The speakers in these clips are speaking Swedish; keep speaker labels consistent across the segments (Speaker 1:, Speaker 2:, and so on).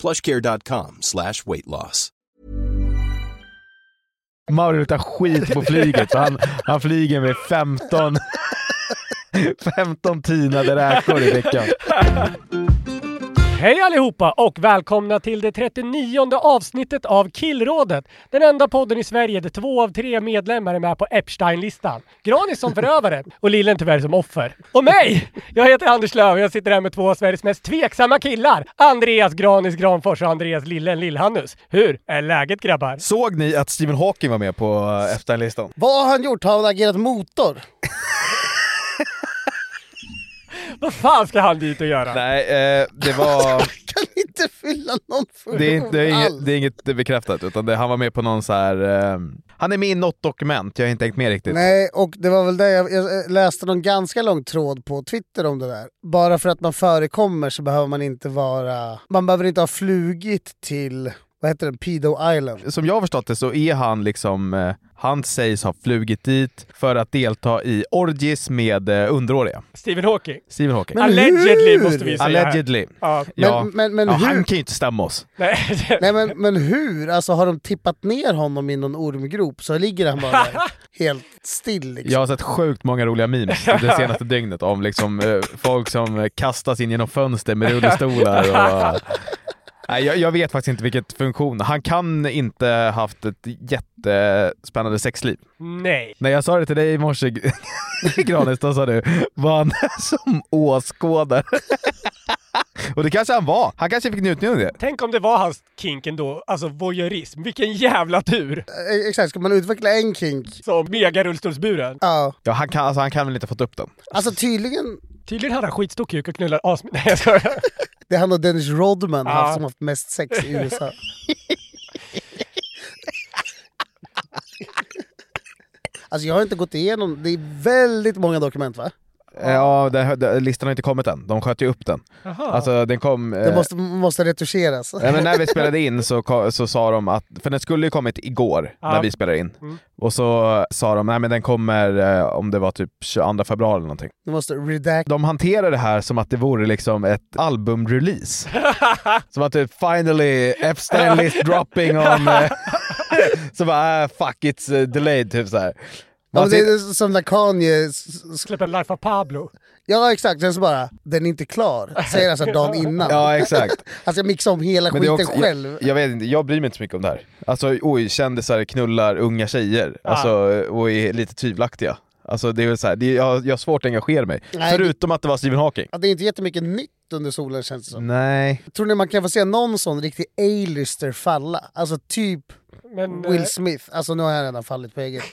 Speaker 1: plushcare.com slash weight loss.
Speaker 2: Mauri luktar skit på flyget så han, han flyger med 15, 15 tinade räkor i veckan.
Speaker 3: Hej allihopa och välkomna till det 39 avsnittet av Killrådet. Den enda podden i Sverige där två av tre medlemmar är med på Epstein-listan. Granis som förövare och Lillen tyvärr som offer. Och mig! Jag heter Anders Löf och jag sitter här med två av Sveriges mest tveksamma killar. Andreas Granis Granfors och Andreas Lillen Lillhannus. Hur är läget grabbar?
Speaker 2: Såg ni att Stephen Hawking var med på eh, Efterlistan?
Speaker 4: Vad har han gjort? Har han agerat motor?
Speaker 3: Vad fan ska han dit och göra?
Speaker 2: Nej, eh, det var...
Speaker 4: Kan inte fylla någon funktion
Speaker 2: Det är, inte- det, är inget,
Speaker 4: alls.
Speaker 2: det är inget bekräftat utan det, han var med på någon så här... Eh, han är med i något dokument, jag har inte hängt med riktigt.
Speaker 4: Nej, och det var väl det jag, jag läste någon ganska lång tråd på Twitter om det där. Bara för att man förekommer så behöver man inte vara... Man behöver inte ha flugit till, vad heter den, Pedo Island.
Speaker 2: Som jag har förstått det så är han liksom... Eh, han sägs ha flugit dit för att delta i orgies med eh, underåriga.
Speaker 3: Stephen Hawking.
Speaker 2: Stephen Hawking.
Speaker 4: Men
Speaker 3: Allegedly
Speaker 4: hur?
Speaker 3: måste vi säga. här.
Speaker 2: Allegedly.
Speaker 3: Ja.
Speaker 2: Ja,
Speaker 4: Men- men- men
Speaker 2: ja
Speaker 4: hur-
Speaker 2: han kan ju inte stämma oss.
Speaker 3: Nej,
Speaker 4: Nej men, men hur? Alltså har de tippat ner honom i någon ormgrop så ligger han bara där helt still liksom.
Speaker 2: Jag har sett sjukt många roliga memes det senaste dygnet om liksom, eh, folk som eh, kastas in genom fönster med rullstolar och... Nej, jag, jag vet faktiskt inte vilket funktion. Han kan inte haft ett jättespännande sexliv.
Speaker 3: Nej.
Speaker 2: När jag sa det till dig i morse, Granis, då sa du var han som åskådare? och det kanske han var. Han kanske fick njutning av det.
Speaker 3: Tänk om det var hans kink ändå, alltså voyeurism. Vilken jävla tur!
Speaker 4: Eh, Exakt, ska man utveckla en kink?
Speaker 3: Som megarullstolsburen.
Speaker 4: Ja.
Speaker 2: Ja, han, kan, alltså, han kan väl inte ha fått upp den.
Speaker 4: Alltså tydligen,
Speaker 3: Tydligen hade han skitstor kuk och knullar as... Nej jag skojar.
Speaker 4: det är han och Dennis Rodman
Speaker 3: Ja.
Speaker 4: haft som haft mest sex i USA. Alltså jag har inte gått igenom, det är väldigt många dokument va?
Speaker 2: Eh, Ja, den, den, listan har inte kommit än. De sköt ju upp den. Alltså den kom...
Speaker 4: Det
Speaker 2: eh,
Speaker 4: måste, måste retuscheras.
Speaker 2: Nej, men när vi spelade in så, ko- så sa de att, för den skulle ju kommit igår
Speaker 3: Ja.
Speaker 2: när vi spelade in. Och så sa de, nej men den kommer eh, om det var typ 22 februari eller någonting.
Speaker 4: Det måste redact.
Speaker 2: De hanterar det här som att det vore liksom ett albumrelease. som att typ finally Epstein list dropping on... eh, så bara, ah, fuck it's eh, delayed typ såhär.
Speaker 4: Ja, men det är som när Kanye... s- s-
Speaker 3: Släpper Life of Pablo.
Speaker 4: Ja exakt, sen så bara, den är inte klar. Säger alltså dagen innan.
Speaker 2: Ja exakt.
Speaker 4: Alltså jag mixar om hela
Speaker 2: Men det är
Speaker 4: skiten
Speaker 2: också,
Speaker 4: själv.
Speaker 2: Jag, jag vet inte, jag bryr mig inte så mycket om det här. Alltså oj, kändisar knullar unga tjejer alltså, och är lite tvivelaktiga. Alltså det är väl så här, det är, jag, jag har svårt att engagera mig.
Speaker 4: Nej,
Speaker 2: Förutom att det var Stephen Hawking.
Speaker 4: Ja, det är inte jättemycket nytt under solen känns det som.
Speaker 2: Mm. Nej.
Speaker 4: Tror ni man kan få se någon sån riktig A-lister falla? Alltså typ
Speaker 3: Men... eh,
Speaker 4: Will Smith. Alltså nu har jag redan fallit på eget,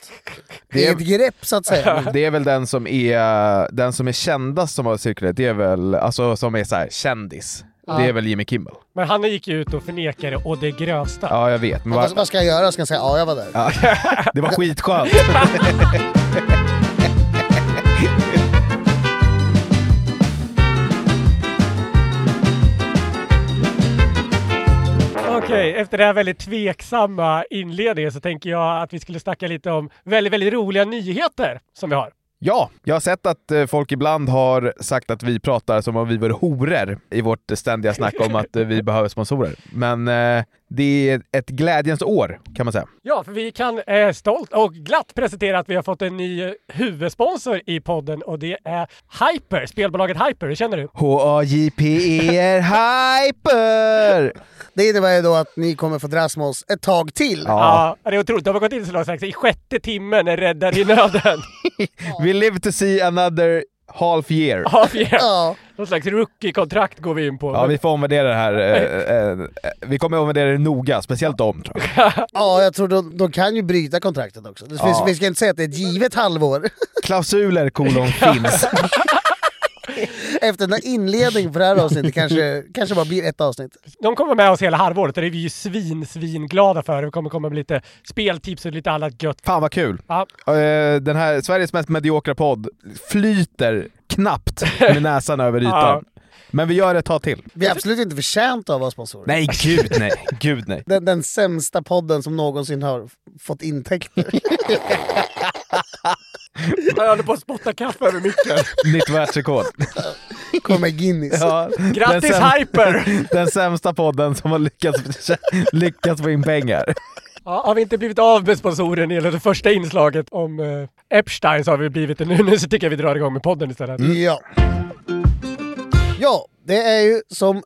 Speaker 2: Det är-
Speaker 4: eget grepp så att säga.
Speaker 2: Det är väl den som är, den som är kändast som har cirkulerat, det är väl, alltså som är så här, kändis. Det är väl Jimmy Kimmel?
Speaker 3: Men han gick ju ut och förnekade och det grövsta.
Speaker 2: Ja, jag vet. Men
Speaker 4: Vad,
Speaker 2: vad-
Speaker 4: vad ska jag göra? Ska jag säga ja, jag var där?
Speaker 2: Ja. det
Speaker 4: alltså-
Speaker 2: var skitskönt.
Speaker 3: Okej, efter den här väldigt tveksamma inledningen så tänker jag att vi skulle snacka lite om väldigt, väldigt roliga nyheter som vi har.
Speaker 2: Ja, jag har sett att eh, folk ibland har sagt att vi pratar som om vi vore horor i vårt ständiga snack om att eh, vi behöver sponsorer. Men eh, det är ett glädjens år kan man säga.
Speaker 3: Ja, för vi kan eh, stolt och glatt presentera att vi har fått en ny eh, huvudsponsor i podden och det är Hyper, spelbolaget Hyper. Hur känner du?
Speaker 2: H-A-J-P-E-R Hyper!
Speaker 4: Det innebär ju då att ni kommer få dras med oss ett tag till.
Speaker 2: Ja,
Speaker 3: Ja, det är otroligt. De har gått in så långt sagt, i sjätte timmen är räddad i nöden.
Speaker 2: we live to see another half year.
Speaker 3: ja, vi är-
Speaker 4: Ja.
Speaker 3: Någon slags rookie-kontrakt går vi in på.
Speaker 2: Ja, vi får omvärdera det här. eh, eh, eh, Vi kommer omvärdera det noga, speciellt om tror jag.
Speaker 4: Ja, jag tror de, de kan ju bryta kontraktet också. Det finns,
Speaker 2: Ja.
Speaker 4: Vi ska inte säga att det är ett givet halvår.
Speaker 2: Klausuler kolon finns.
Speaker 4: Efter den här inledningen för det här avsnittet kanske, kanske bara blir ett avsnitt.
Speaker 3: De kommer med oss hela halvåret och det är vi ju svin, svin glada för. Vi kommer komma med lite speltips och lite annat gött.
Speaker 2: Fan vad kul!
Speaker 3: Ja,
Speaker 2: Eh, Den här Sveriges mest mediokra podd flyter knappt med näsan över ytan. Men vi gör ett tag till.
Speaker 4: Vi är absolut inte förtjänta av att vara sponsorer.
Speaker 2: Nej, gud nej. Gud nej.
Speaker 4: Den, den sämsta podden som någonsin har fått intäkter.
Speaker 3: jag håller på att spotta kaffe över micken.
Speaker 2: Nytt världsrekord.
Speaker 4: Kommer Guinness.
Speaker 2: Ja,
Speaker 3: Grattis
Speaker 2: den, säm-
Speaker 3: Hyper!
Speaker 2: den sämsta podden som har lyckats, lyckats få in pengar.
Speaker 3: Ja, har vi inte blivit av med sponsoren eller det första inslaget om eh, Epstein så har vi blivit det nu. Nu så tycker jag vi drar igång med podden istället.
Speaker 2: Mm.
Speaker 4: Ja. Ja, det är ju som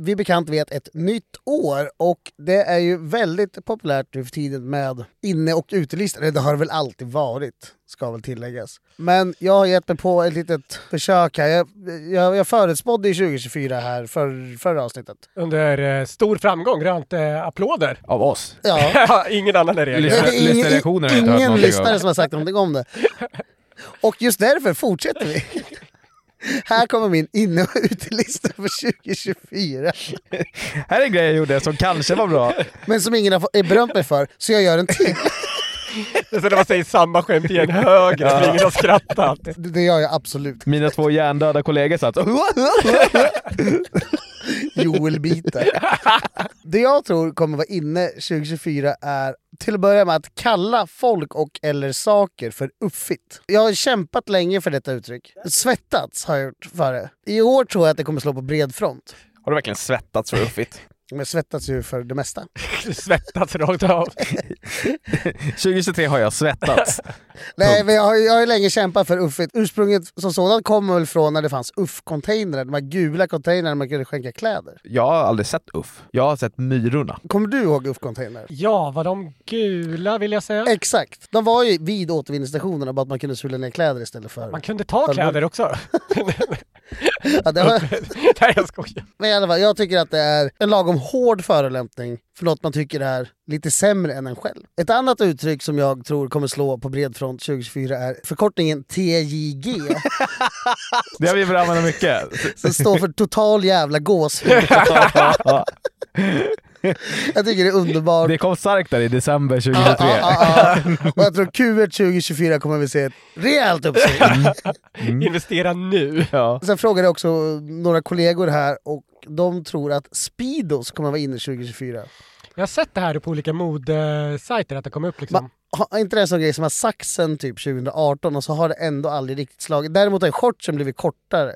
Speaker 4: vi bekant vet ett nytt år och det är ju väldigt populärt nu för tiden med inne och utelistor. Eller Det har det väl alltid varit, ska väl tilläggas. Men jag har gett mig på ett litet försök här. Jag, jag, jag förutspådde ju 2024 här för, förra avsnittet.
Speaker 3: Under eh, stor framgång, rönt eh, applåder.
Speaker 2: Av oss.
Speaker 4: Ja.
Speaker 3: Ingen annan är det.
Speaker 2: Lyssna-
Speaker 4: Det är ingen-
Speaker 2: lyssnarreaktioner har jag inte hört
Speaker 4: Ingen
Speaker 2: någonting
Speaker 4: lyssnare
Speaker 2: om.
Speaker 4: som har sagt någonting om det. Och just därför fortsätter vi. Här kommer min inne och utelista för 2024.
Speaker 2: Här är en grej jag gjorde som kanske var bra.
Speaker 4: Men som ingen har fått- är berömt mig för, så jag gör en till.
Speaker 3: Det är så när man säger samma skämt i en hög som ingen har skrattat.
Speaker 4: Det det gör jag absolut.
Speaker 2: Mina två hjärndöda kollegor satt och-
Speaker 4: Joel biter. Det jag tror kommer vara inne 2024 är till att börja med att kalla folk och eller saker för uffigt. Jag har kämpat länge för detta uttryck. Svettats har jag gjort för det. I år tror jag att det kommer slå på bred front.
Speaker 2: Har du verkligen svettats så ruffigt?
Speaker 4: Men jag svettas ju för det mesta.
Speaker 3: Svettats rakt av.
Speaker 2: 2023 har jag svettats.
Speaker 4: Nej, men jag har, jag har ju länge kämpat för uffigt. Ursprunget som sådant kommer väl från när det fanns uff-containrar. De här gula containrarna man kunde skänka kläder.
Speaker 2: Jag har aldrig sett Uff. Jag har sett Myrorna.
Speaker 4: Kommer du ihåg uff-containrar?
Speaker 3: Ja, var de gula vill jag säga.
Speaker 4: Exakt. De var ju vid återvinningsstationerna, bara att man kunde sula ner kläder istället för...
Speaker 3: Man kunde ta kläder också.
Speaker 4: Ja, det var...
Speaker 3: Nej, jag skojar.
Speaker 4: Men i alla fall, jag tycker att det är en lagom hård förolämpning för något man tycker är lite sämre än en själv. Ett annat uttryck som jag tror kommer slå på bred front 2024 är förkortningen TJG,
Speaker 2: Det har vi börjat använda mycket.
Speaker 4: som står för total jävla gåshud. Jag tycker det är underbart.
Speaker 2: Det kom starkt där i december 2023.
Speaker 4: Ja, ja, ja. Och jag tror Q1 2024 kommer vi se ett rejält uppsving.
Speaker 2: Mm.
Speaker 3: Investera nu.
Speaker 2: Ja.
Speaker 4: Sen frågade jag också några kollegor här och de tror att Speedos kommer vara inne 2024.
Speaker 2: Mm.
Speaker 3: Jag har sett det här på olika modesajter att det kom upp liksom.
Speaker 4: Man, har inte det en sån grej som har saxen typ 2018 och så har det ändå aldrig riktigt slagit. Däremot har shortsen blivit kortare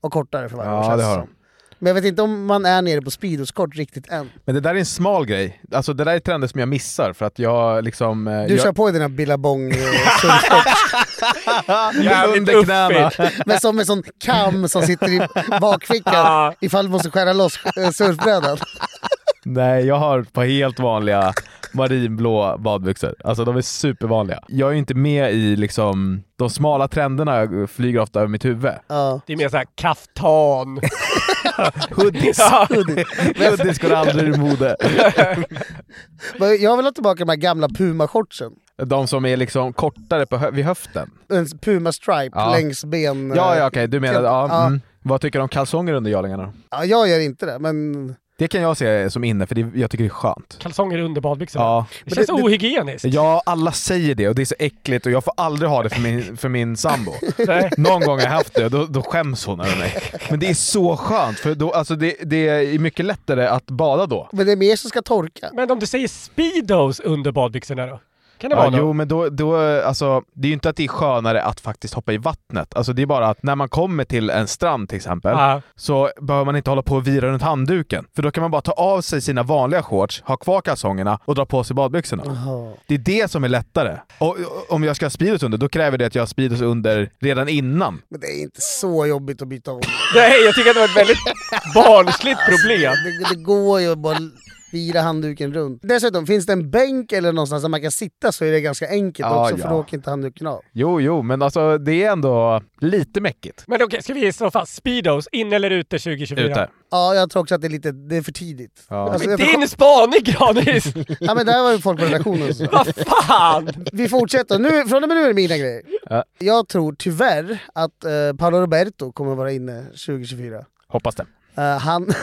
Speaker 4: och kortare för varje år
Speaker 2: ja,
Speaker 4: känns
Speaker 2: det har
Speaker 4: som.
Speaker 2: de.
Speaker 4: Men jag vet inte om man är nere på Speedos-kort riktigt än.
Speaker 2: Men det där är en smal grej. Alltså det där är trender som jag missar för att jag liksom... eh,
Speaker 4: Du
Speaker 2: jag,
Speaker 4: kör på i dina billabong eh, sunkskott,
Speaker 3: Jävligt
Speaker 2: under knäna.
Speaker 3: uffigt.
Speaker 4: men som en sån kam som sitter i bakfickan
Speaker 3: Ja.
Speaker 4: ifall du måste skära loss eh, surfbrädan.
Speaker 2: Nej, jag har ett par helt vanliga marinblå badbyxor. Alltså de är supervanliga. Jag är ju inte med i liksom... De smala trenderna flyger ofta över mitt huvud.
Speaker 4: Ja.
Speaker 3: Det är mer såhär kaftan.
Speaker 2: Hoodies! Hoodies går aldrig ur mode.
Speaker 4: Men Jag vill ha tillbaka de här gamla Puma-shortsen.
Speaker 2: De som är liksom kortare på hö- vid höften.
Speaker 4: En Puma Stripe
Speaker 2: Ja.
Speaker 4: längs ben. eh,
Speaker 2: Ja, ja, okej. Du menar...
Speaker 4: Ja.
Speaker 2: Ja, mm. Vad tycker du om kalsonger under jarlingarna?
Speaker 4: Ja, jag gör inte det, men
Speaker 2: Det kan jag se som inne, för det, jag tycker det är skönt.
Speaker 3: Kalsonger under badbyxorna.
Speaker 2: Ja.
Speaker 3: Det känns
Speaker 4: Men det- det-
Speaker 3: ohygieniskt.
Speaker 2: ja, alla säger det och det är så äckligt och jag får aldrig ha det för min, för min sambo.
Speaker 3: Nej.
Speaker 2: Någon gång har jag haft det och då, då skäms hon över mig. Men det är så skönt, för då, alltså det, det är mycket lättare att bada då.
Speaker 4: Men det är mer som ska torka.
Speaker 3: Men om du säger speedos under badbyxorna då? Kan det
Speaker 2: Ja,
Speaker 3: vara
Speaker 2: jo,
Speaker 3: då?
Speaker 2: men då, då, alltså, det är ju inte att det är skönare att faktiskt hoppa i vattnet. Alltså, det är bara att när man kommer till en strand till exempel,
Speaker 3: Ja.
Speaker 2: så behöver man inte hålla på och vira runt handduken. För då kan man bara ta av sig sina vanliga shorts, ha kvar kalsongerna och dra på sig badbyxorna. Det är det som är lättare. Och, och om jag ska ha speedos under, då kräver det att jag har speedos under redan innan.
Speaker 4: Men det är inte så jobbigt att byta om.
Speaker 3: Nej, jag tycker att det var ett väldigt barnsligt problem.
Speaker 4: Det, det går ju att bara vira handduken runt. Dessutom, finns det en bänk eller någonstans där man kan sitta så är det ganska enkelt
Speaker 2: Ja,
Speaker 4: också för
Speaker 2: ja.
Speaker 4: då åker inte handduken av.
Speaker 2: Jo, jo, men alltså det är ändå lite mäckigt.
Speaker 3: Men okej, ska vi slå fast Speedos, in eller ute 2024?
Speaker 2: Ute.
Speaker 4: Ja, jag tror också att det är lite, det är för tidigt.
Speaker 2: Ja.
Speaker 4: Alltså,
Speaker 3: Men
Speaker 4: jag förstår-
Speaker 3: din spaning Granis!
Speaker 4: ja men det här var ju folk på redaktionen som sa.
Speaker 3: Vad fan!
Speaker 4: Vi fortsätter. Nu, från och med nu är det mina grejer.
Speaker 2: Ja.
Speaker 4: Jag tror tyvärr att eh, Paolo Roberto kommer vara inne 2024.
Speaker 2: Hoppas det.
Speaker 4: Eh, han,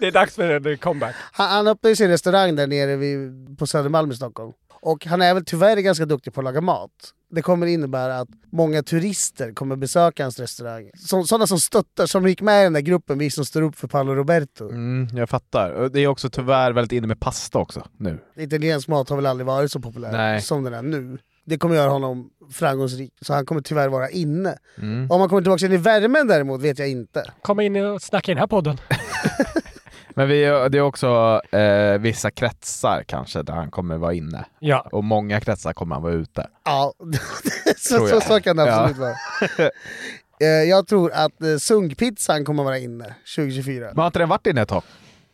Speaker 3: Det är dags för en comeback.
Speaker 4: han, han öppnade ju sin restaurang där nere vid, på Södermalm i Stockholm. Och han är väl tyvärr ganska duktig på att laga mat. Det kommer innebära att många turister kommer besöka hans restaurang. Så, sådana som stöttar, som gick med i den där gruppen, vi som står upp för Paolo Roberto.
Speaker 2: Mm, jag fattar. Och Det är också tyvärr väldigt inne med pasta också nu.
Speaker 4: Italiensk mat har väl aldrig varit så populär
Speaker 2: Nej.
Speaker 4: som den är nu. Det kommer göra honom framgångsrik, så han kommer tyvärr vara inne.
Speaker 2: Mm.
Speaker 4: Om han kommer tillbaka in i värmen däremot vet jag inte.
Speaker 3: Komma in och snacka i den här podden.
Speaker 2: Men vi, det är också eh, vissa kretsar kanske där han kommer vara inne.
Speaker 3: Ja.
Speaker 2: Och många kretsar kommer han vara ute.
Speaker 4: Ja, så,
Speaker 2: Tror
Speaker 4: så,
Speaker 2: jag.
Speaker 4: så kan det
Speaker 2: Ja.
Speaker 4: absolut vara. Eh, Jag tror att eh, sunkpizzan kommer vara inne 2024.
Speaker 2: Men har inte den varit inne ett tag?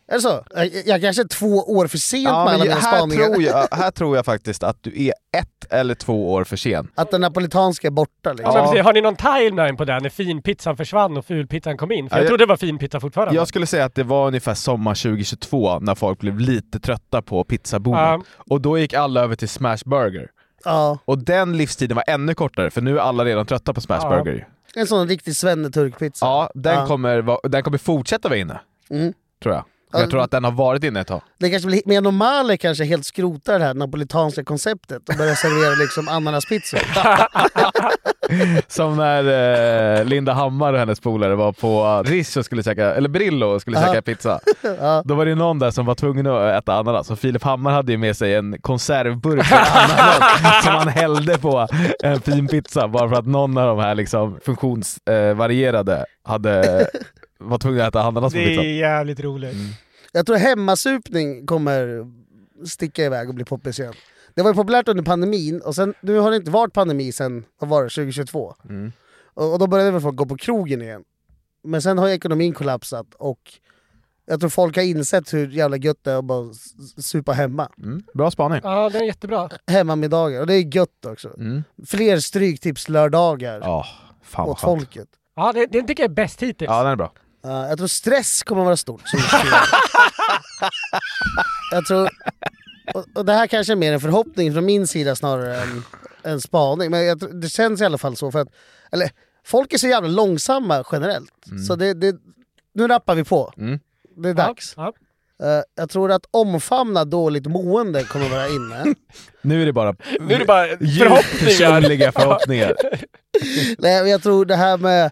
Speaker 4: Är det så? Jag, jag kanske är två år för sent med alla mina
Speaker 2: här,
Speaker 4: spaningar.
Speaker 2: tror jag, här tror jag faktiskt att du är ett eller två år för sen.
Speaker 4: Att den napolitanska är borta
Speaker 3: Ja,
Speaker 4: liksom.
Speaker 3: men
Speaker 2: Ja.
Speaker 3: precis. Har ni någon timeline på det här när finpizzan försvann och fulpizzan kom in? För
Speaker 2: Ja,
Speaker 3: jag
Speaker 2: jag-
Speaker 3: trodde det var finpizza fortfarande.
Speaker 2: Jag skulle säga att det var ungefär sommar 2022 när folk blev lite trötta på pizzaboomen.
Speaker 3: Ja.
Speaker 2: Och då gick alla över till smash burger.
Speaker 4: Ja.
Speaker 2: Och den livstiden var ännu kortare för nu är alla redan trötta på smash
Speaker 3: Ja.
Speaker 2: burger.
Speaker 4: En sån riktig svenneturkpizza.
Speaker 2: Ja, den,
Speaker 4: Ja.
Speaker 2: Kommer, va- den kommer fortsätta vara inne.
Speaker 4: Mm.
Speaker 2: Tror jag.
Speaker 4: Ja.
Speaker 2: Jag tror att den har varit inne ett tag.
Speaker 4: Det kanske blir mer normalt kanske helt skrotar det här napolitanska konceptet och börjar servera liksom ananaspizzor.
Speaker 2: Som när eh, Linda Hammar och hennes polare var på Rish och skulle käka, eller Brillo och skulle
Speaker 4: Ja.
Speaker 2: käka pizza.
Speaker 4: Ja.
Speaker 2: Då var det någon där som var tvungen att äta ananas och Filip Hammar hade ju med sig en konservburk med ananas som han hällde på en fin pizza bara för att någon av de här liksom funktionsvarierade hade var tvungen att äta ananas på
Speaker 3: det är
Speaker 2: pizzan.
Speaker 3: jävligt roligt.
Speaker 4: Mm. Jag tror hemmasupning kommer sticka iväg och bli poppis igen. Det var ju populärt under pandemin och sen, nu har det inte varit pandemi sen, vad var det, 2022?
Speaker 2: Mm.
Speaker 4: Och, och då började väl folk gå på krogen igen. Men sen har ju ekonomin kollapsat och jag tror folk har insett hur jävla gött det är att bara s- s- supa hemma.
Speaker 2: Mm. Bra spaning.
Speaker 3: Ja, det är jättebra.
Speaker 4: Hemmamiddagar, och det är gött också.
Speaker 2: Mm.
Speaker 4: Fler stryktipslördagar
Speaker 2: Ja, fan vad
Speaker 4: åt
Speaker 2: skönt.
Speaker 4: folket.
Speaker 3: Ja, det, det tycker jag är bäst hittills.
Speaker 2: Ja, den är bra.
Speaker 4: Uh, jag tror stress kommer vara stort. 2024. jag tror... Och, och det här kanske är mer en förhoppning från min sida snarare än en spaning. Men jag, tror- det känns i alla fall så. För att, eller, folk är så jävla långsamma generellt. Så det, det, nu rappar vi på.
Speaker 2: Mm.
Speaker 4: Det är dags.
Speaker 3: Ja,
Speaker 4: Eh, jag tror att omfamna dåligt mående kommer vara inne.
Speaker 2: Nu är det bara
Speaker 3: ja. Nu är det bara
Speaker 2: djupt
Speaker 3: förhoppningar.
Speaker 2: personliga förhoppningar.
Speaker 4: Nej, men jag tror det här med...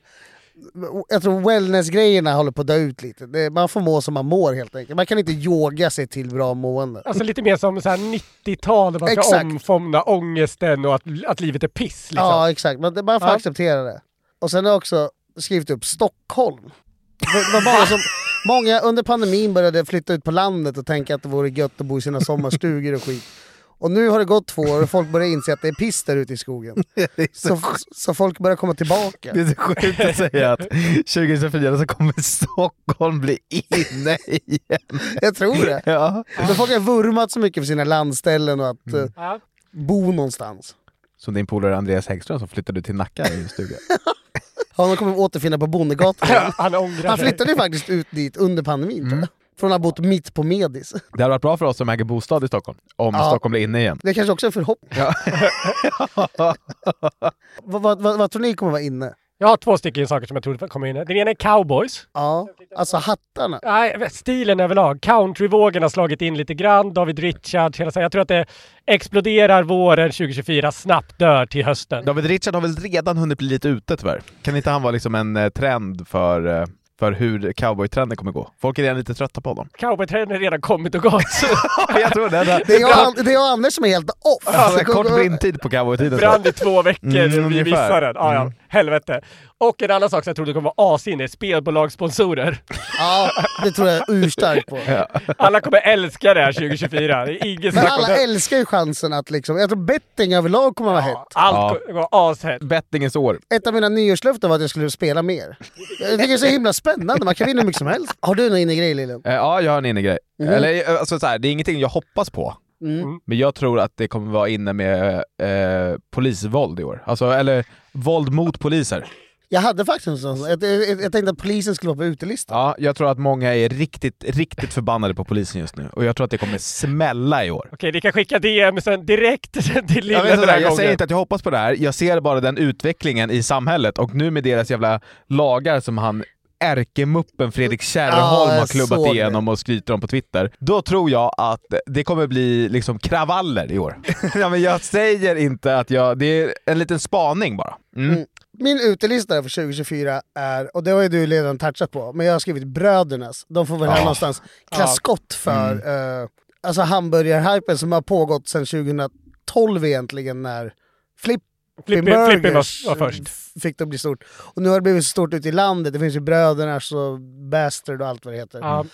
Speaker 4: Jag tror wellness-grejerna håller på att dö ut lite. Det, man får må som man mår helt enkelt. Man kan inte yoga sig till bra mående.
Speaker 3: Alltså lite mer som så här 90-tal, där man ska
Speaker 4: Exakt.
Speaker 3: omfamna ångesten och att, att livet är piss. Liksom.
Speaker 4: Ja, exakt. Man, man får
Speaker 3: Ja.
Speaker 4: acceptera det. Och sen har jag också skrivit upp Stockholm. Det var många, som, många under pandemin började flytta ut på landet och tänka att det vore gött att bo i sina sommarstugor och skit. Och nu har det gått två år och folk börjar inse att det är piss där ute i skogen. Så, så folk börjar komma tillbaka.
Speaker 2: Det är så sjukt att säga att 2024 så kommer Stockholm bli inne igen.
Speaker 4: Jag tror det.
Speaker 2: Ja.
Speaker 4: För folk har vurmat så mycket för sina landställen och att eh,
Speaker 3: Ja.
Speaker 4: bo någonstans.
Speaker 2: Som din polare Andreas Häggström som flyttade till Nacka i en stuga.
Speaker 4: Honom kommer vi återfinna på Bondegatan.
Speaker 3: Han ångrar
Speaker 4: Han
Speaker 3: sig.
Speaker 4: flyttade ju faktiskt ut dit under pandemin tror jag. Från att ha bott mitt på Medis.
Speaker 2: Det hade varit bra för oss som äger bostad i Stockholm, om
Speaker 4: Ja.
Speaker 2: Stockholm blir inne igen.
Speaker 4: Det kanske också är en förhoppning. vad, vad, vad, vad tror ni kommer vara inne?
Speaker 3: Jag har två stycken saker som jag tror kommer in. Den ena är cowboys.
Speaker 4: Ja, alltså hattarna.
Speaker 3: Nej, stilen överlag. Countryvågen har slagit in lite grann. David Richards, hela så här. Jag tror att det exploderar våren 2024, snabbt dör till hösten.
Speaker 2: David Richard har väl redan hunnit bli lite ute tyvärr. Kan inte han vara liksom en eh, trend för, eh, för hur cowboytrenden kommer gå. Folk är redan lite trötta på honom.
Speaker 3: Cowboytrenden har redan kommit och gått.
Speaker 2: jag tror det.
Speaker 4: Det är jag, det är jag och Anders som är helt off.
Speaker 2: Alltså, kort blindtid på cowboytiden.
Speaker 3: Brann i två veckor,
Speaker 2: Mm,
Speaker 3: vi
Speaker 2: ungefär. Mm.
Speaker 3: missar den. Ah, ja. Helvete. Och en annan sak som jag trodde kommer vara asinne, spelbolagssponsorer.
Speaker 4: Ja, det tror jag urstarkt på.
Speaker 3: Alla kommer älska det här 2024. Det är ingen
Speaker 4: Men
Speaker 3: snack om
Speaker 4: alla
Speaker 3: det.
Speaker 4: älskar ju chansen att liksom, jag tror betting överlag kommer vara hett.
Speaker 2: Ja.
Speaker 3: Allt kommer gå ashett.
Speaker 2: Bettingens år.
Speaker 4: Ett av mina nyårslöften var att jag skulle spela mer. Jag tycker det är så himla spännande, man kan vinna hur mycket som helst. Har du någon inne grej Lillen?
Speaker 2: Eh, Ja, jag har en innegrej. Eller eh, alltså, så här, det är ingenting jag hoppas på.
Speaker 4: Mm.
Speaker 2: Men jag tror att det kommer vara inne med eh, polisvåld i år. Alltså, eller våld mot poliser.
Speaker 4: Jag hade faktiskt en sån. Jag, jag, jag tänkte att polisen skulle vara på utelistan.
Speaker 2: Ja, jag tror att många är riktigt, riktigt förbannade på polisen just nu. Och jag tror att det kommer smälla i år.
Speaker 3: Okej, ni kan skicka DM sen direkt till
Speaker 2: Jag,
Speaker 3: Lille
Speaker 2: vet
Speaker 3: den
Speaker 2: sådär,
Speaker 3: här
Speaker 2: jag säger
Speaker 3: gången.
Speaker 2: inte att jag hoppas på det här, jag ser bara den utvecklingen i samhället och nu med deras jävla lagar som han ärkemuppen Fredrik Kärrholm
Speaker 4: Ja,
Speaker 2: har
Speaker 4: jag såg
Speaker 2: klubbat
Speaker 4: det.
Speaker 2: igenom och skryter om på Twitter. Då tror jag att det kommer bli liksom kravaller i år. ja, men jag säger inte att jag... Det är en liten spaning bara. Mm.
Speaker 4: Min utelista för 2024 är, och det har ju du redan touchat på, men jag har skrivit brödernas. De får väl här någonstans klä
Speaker 3: Ja. Mm.
Speaker 4: skott för eh, alltså hamburgerhypen som har pågått sedan 2012 egentligen när Flippin
Speaker 3: Flippin-
Speaker 4: Burgers
Speaker 3: Flippin var- var först.
Speaker 4: f- fick det bli stort. Och nu har det blivit så stort ute i landet. Det finns ju brödernas och Bastard och allt vad det heter.
Speaker 3: Ja,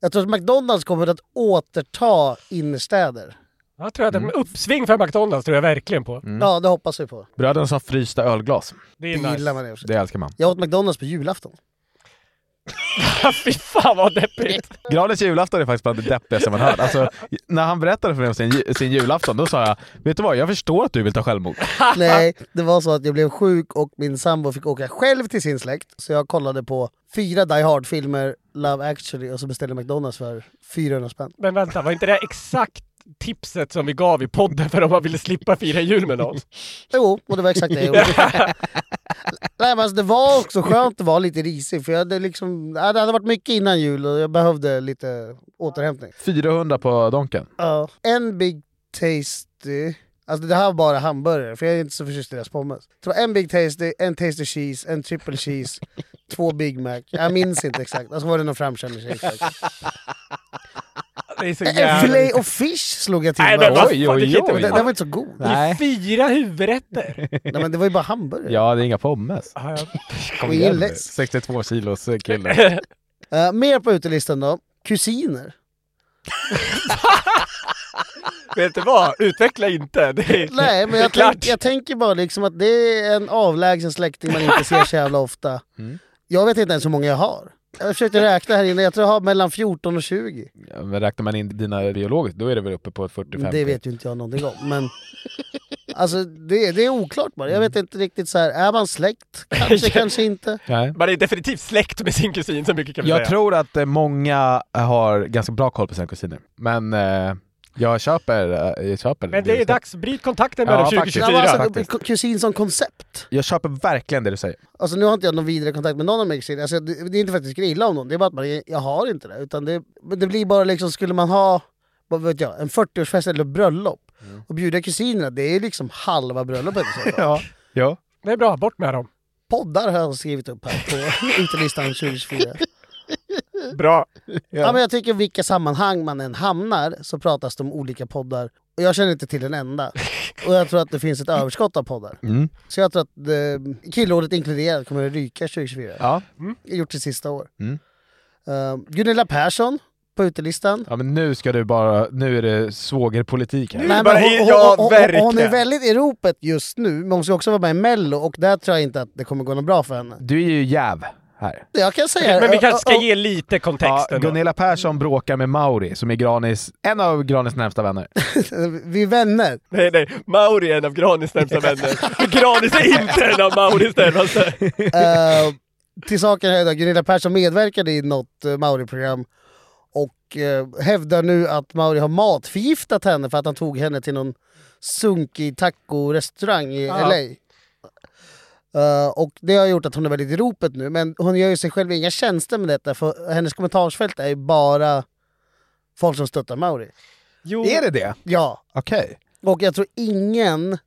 Speaker 4: Jag tror att McDonalds kommer att återta innerstäder.
Speaker 3: jag tror att
Speaker 2: Mm.
Speaker 3: en uppsving för McDonalds tror jag verkligen på.
Speaker 4: Ja, det hoppas vi på.
Speaker 2: Bröderna har frysta ölglas.
Speaker 3: Mm. Det
Speaker 4: Det
Speaker 3: är nice.
Speaker 4: gillar man i och för sig.
Speaker 2: Det älskar man.
Speaker 4: Jag åt McDonalds på julafton.
Speaker 3: Fy fan vad deppigt.
Speaker 2: Granens julafton är faktiskt bland det deppigaste man hört. Alltså, när han berättade för mig om sin, ju- sin julafton, då sa jag Vet du vad, jag förstår att du vill ta självmord.
Speaker 4: Nej, det var så att jag blev sjuk och min sambo fick åka själv till sin släkt. Så jag kollade på fyra Die Hard-filmer, Love actually, och så beställde McDonalds för 400 spänn.
Speaker 3: Men vänta, var inte det exakt tipset som vi gav i podden för om man ville slippa fira jul med någon?
Speaker 4: Jo, och det var exakt det jag gjorde. Nej, men alltså, det var också skönt att vara lite risig, för jag hade liksom, ja, det hade varit mycket innan jul och jag behövde lite återhämtning.
Speaker 2: 400 på Donken.
Speaker 4: Ja. En Big Tasty. Alltså det här var bara hamburgare, för jag är inte så förtjust i deras pommes. Det var en Big Tasty, en Tasty Cheese, en Triple Cheese, två Big Mac. Jag minns inte exakt. Alltså var det någon framkänning.
Speaker 3: Det är så
Speaker 4: En Filet
Speaker 3: jävla...
Speaker 4: och Fish slog jag till
Speaker 3: Nej,
Speaker 4: med.
Speaker 3: men vad
Speaker 2: Oj,
Speaker 3: fan,
Speaker 2: oj,
Speaker 3: det kan inte
Speaker 2: oj.
Speaker 4: Den,
Speaker 3: vara-
Speaker 4: den var inte så god.
Speaker 3: Det är fyra huvudrätter.
Speaker 4: Nej, men det var ju bara hamburgare.
Speaker 2: Ja, det är inga pommes.
Speaker 3: Ja, ja.
Speaker 4: Och ingen läsk.
Speaker 2: 62 kilos kille.
Speaker 4: Eh, mer på utelistan då. Kusiner.
Speaker 3: Vet du vad? Utveckla inte. Det är,
Speaker 4: Nej, men
Speaker 3: det är
Speaker 4: jag,
Speaker 3: klart.
Speaker 4: tänk, jag tänker bara liksom att det är en avlägsen släkting man inte ser så jävla ofta. Jag vet inte ens hur många jag har. Jag försökte räkna här inne, jag tror jag har mellan 14 och 20.
Speaker 2: Ja, men räknar man in dina biologiskt, då är det väl uppe på 45?
Speaker 4: Det vet ju inte jag någonting om. Men alltså, det, det är oklart bara. Jag vet inte riktigt så här. är man släkt? Kanske, kanske inte.
Speaker 2: Nej.
Speaker 3: Man är definitivt släkt med sin kusin, så mycket kan vi
Speaker 2: Jag
Speaker 3: säga.
Speaker 2: tror att eh, många har ganska bra koll på sina kusiner, men eh, jag köper, eh, jag köper
Speaker 3: Men det
Speaker 2: du
Speaker 3: är
Speaker 2: säger.
Speaker 3: dags, bryt kontakten med
Speaker 2: Ja,
Speaker 3: dem
Speaker 2: faktiskt.
Speaker 3: 2024.
Speaker 4: Nej, men alltså,
Speaker 2: faktiskt.
Speaker 4: k- kusin som koncept.
Speaker 2: Jag köper verkligen det du säger.
Speaker 4: Alltså nu har inte jag någon vidare kontakt med någon av mina kusiner. Alltså, det, det är inte för att jag tycker illa om någon, det är bara att man, jag har inte det. Utan det, men det blir bara liksom, skulle man ha vad vet jag, en 40-årsfest eller bröllop och bjuda kusinerna, det är liksom halva bröllopet. i så fall.
Speaker 2: Mm. Ja. ja.
Speaker 3: Det är bra, bort med dem.
Speaker 4: Poddar har jag skrivit upp här på utelistan 2024.
Speaker 3: Bra.
Speaker 4: Ja. men jag tycker vilka sammanhang man än hamnar så pratas det om olika poddar. Och jag känner inte till en enda. Och jag tror att det finns ett överskott av poddar.
Speaker 2: Mm.
Speaker 4: Så jag tror att eh, killrådet inkluderat kommer att ryka 2024.
Speaker 2: Ja.
Speaker 4: Gjort sitt sista år.
Speaker 2: Mm.
Speaker 4: Eh, Gunilla Persson på utelistan.
Speaker 2: ja, men nu ska du bara, nu är det svågerpolitik här.
Speaker 3: Nu- bara,
Speaker 4: hon, hon,
Speaker 3: ja,
Speaker 4: hon, hon, hon är
Speaker 3: verkligen.
Speaker 4: väldigt i ropet just nu, men hon ska också vara med i Mello och där tror jag inte att det kommer gå något bra för henne.
Speaker 2: Du är ju jäv här.
Speaker 4: Jag kan säga
Speaker 3: Men vi kanske
Speaker 4: Ö,
Speaker 3: ska
Speaker 4: ö,
Speaker 3: ge lite
Speaker 2: Ja,
Speaker 3: kontext ändå.
Speaker 2: Gunilla Persson bråkar med Mauri, som är Granis, en av Granis närmsta vänner.
Speaker 4: ö, Vi är vänner.
Speaker 3: Nej, nej. Mauri är en av Granis närmsta vänner. Granis är inte en av Mauris närmaste.
Speaker 4: Eh, till saken här idag, Gunilla Persson medverkade i något eh, Mauri-program och eh, hävdar nu att Mauri har matförgiftat henne för att han tog henne till någon sunkig taco-restaurang i
Speaker 3: Ja.
Speaker 4: LA. Eh, och det har gjort att hon är väldigt i ropet nu, men hon gör ju sig själv inga tjänster med detta för hennes kommentarsfält är ju bara folk som stöttar Mauri.
Speaker 3: Jo,
Speaker 2: Är det det?
Speaker 4: Ja,
Speaker 2: Okej.
Speaker 4: och jag tror ingen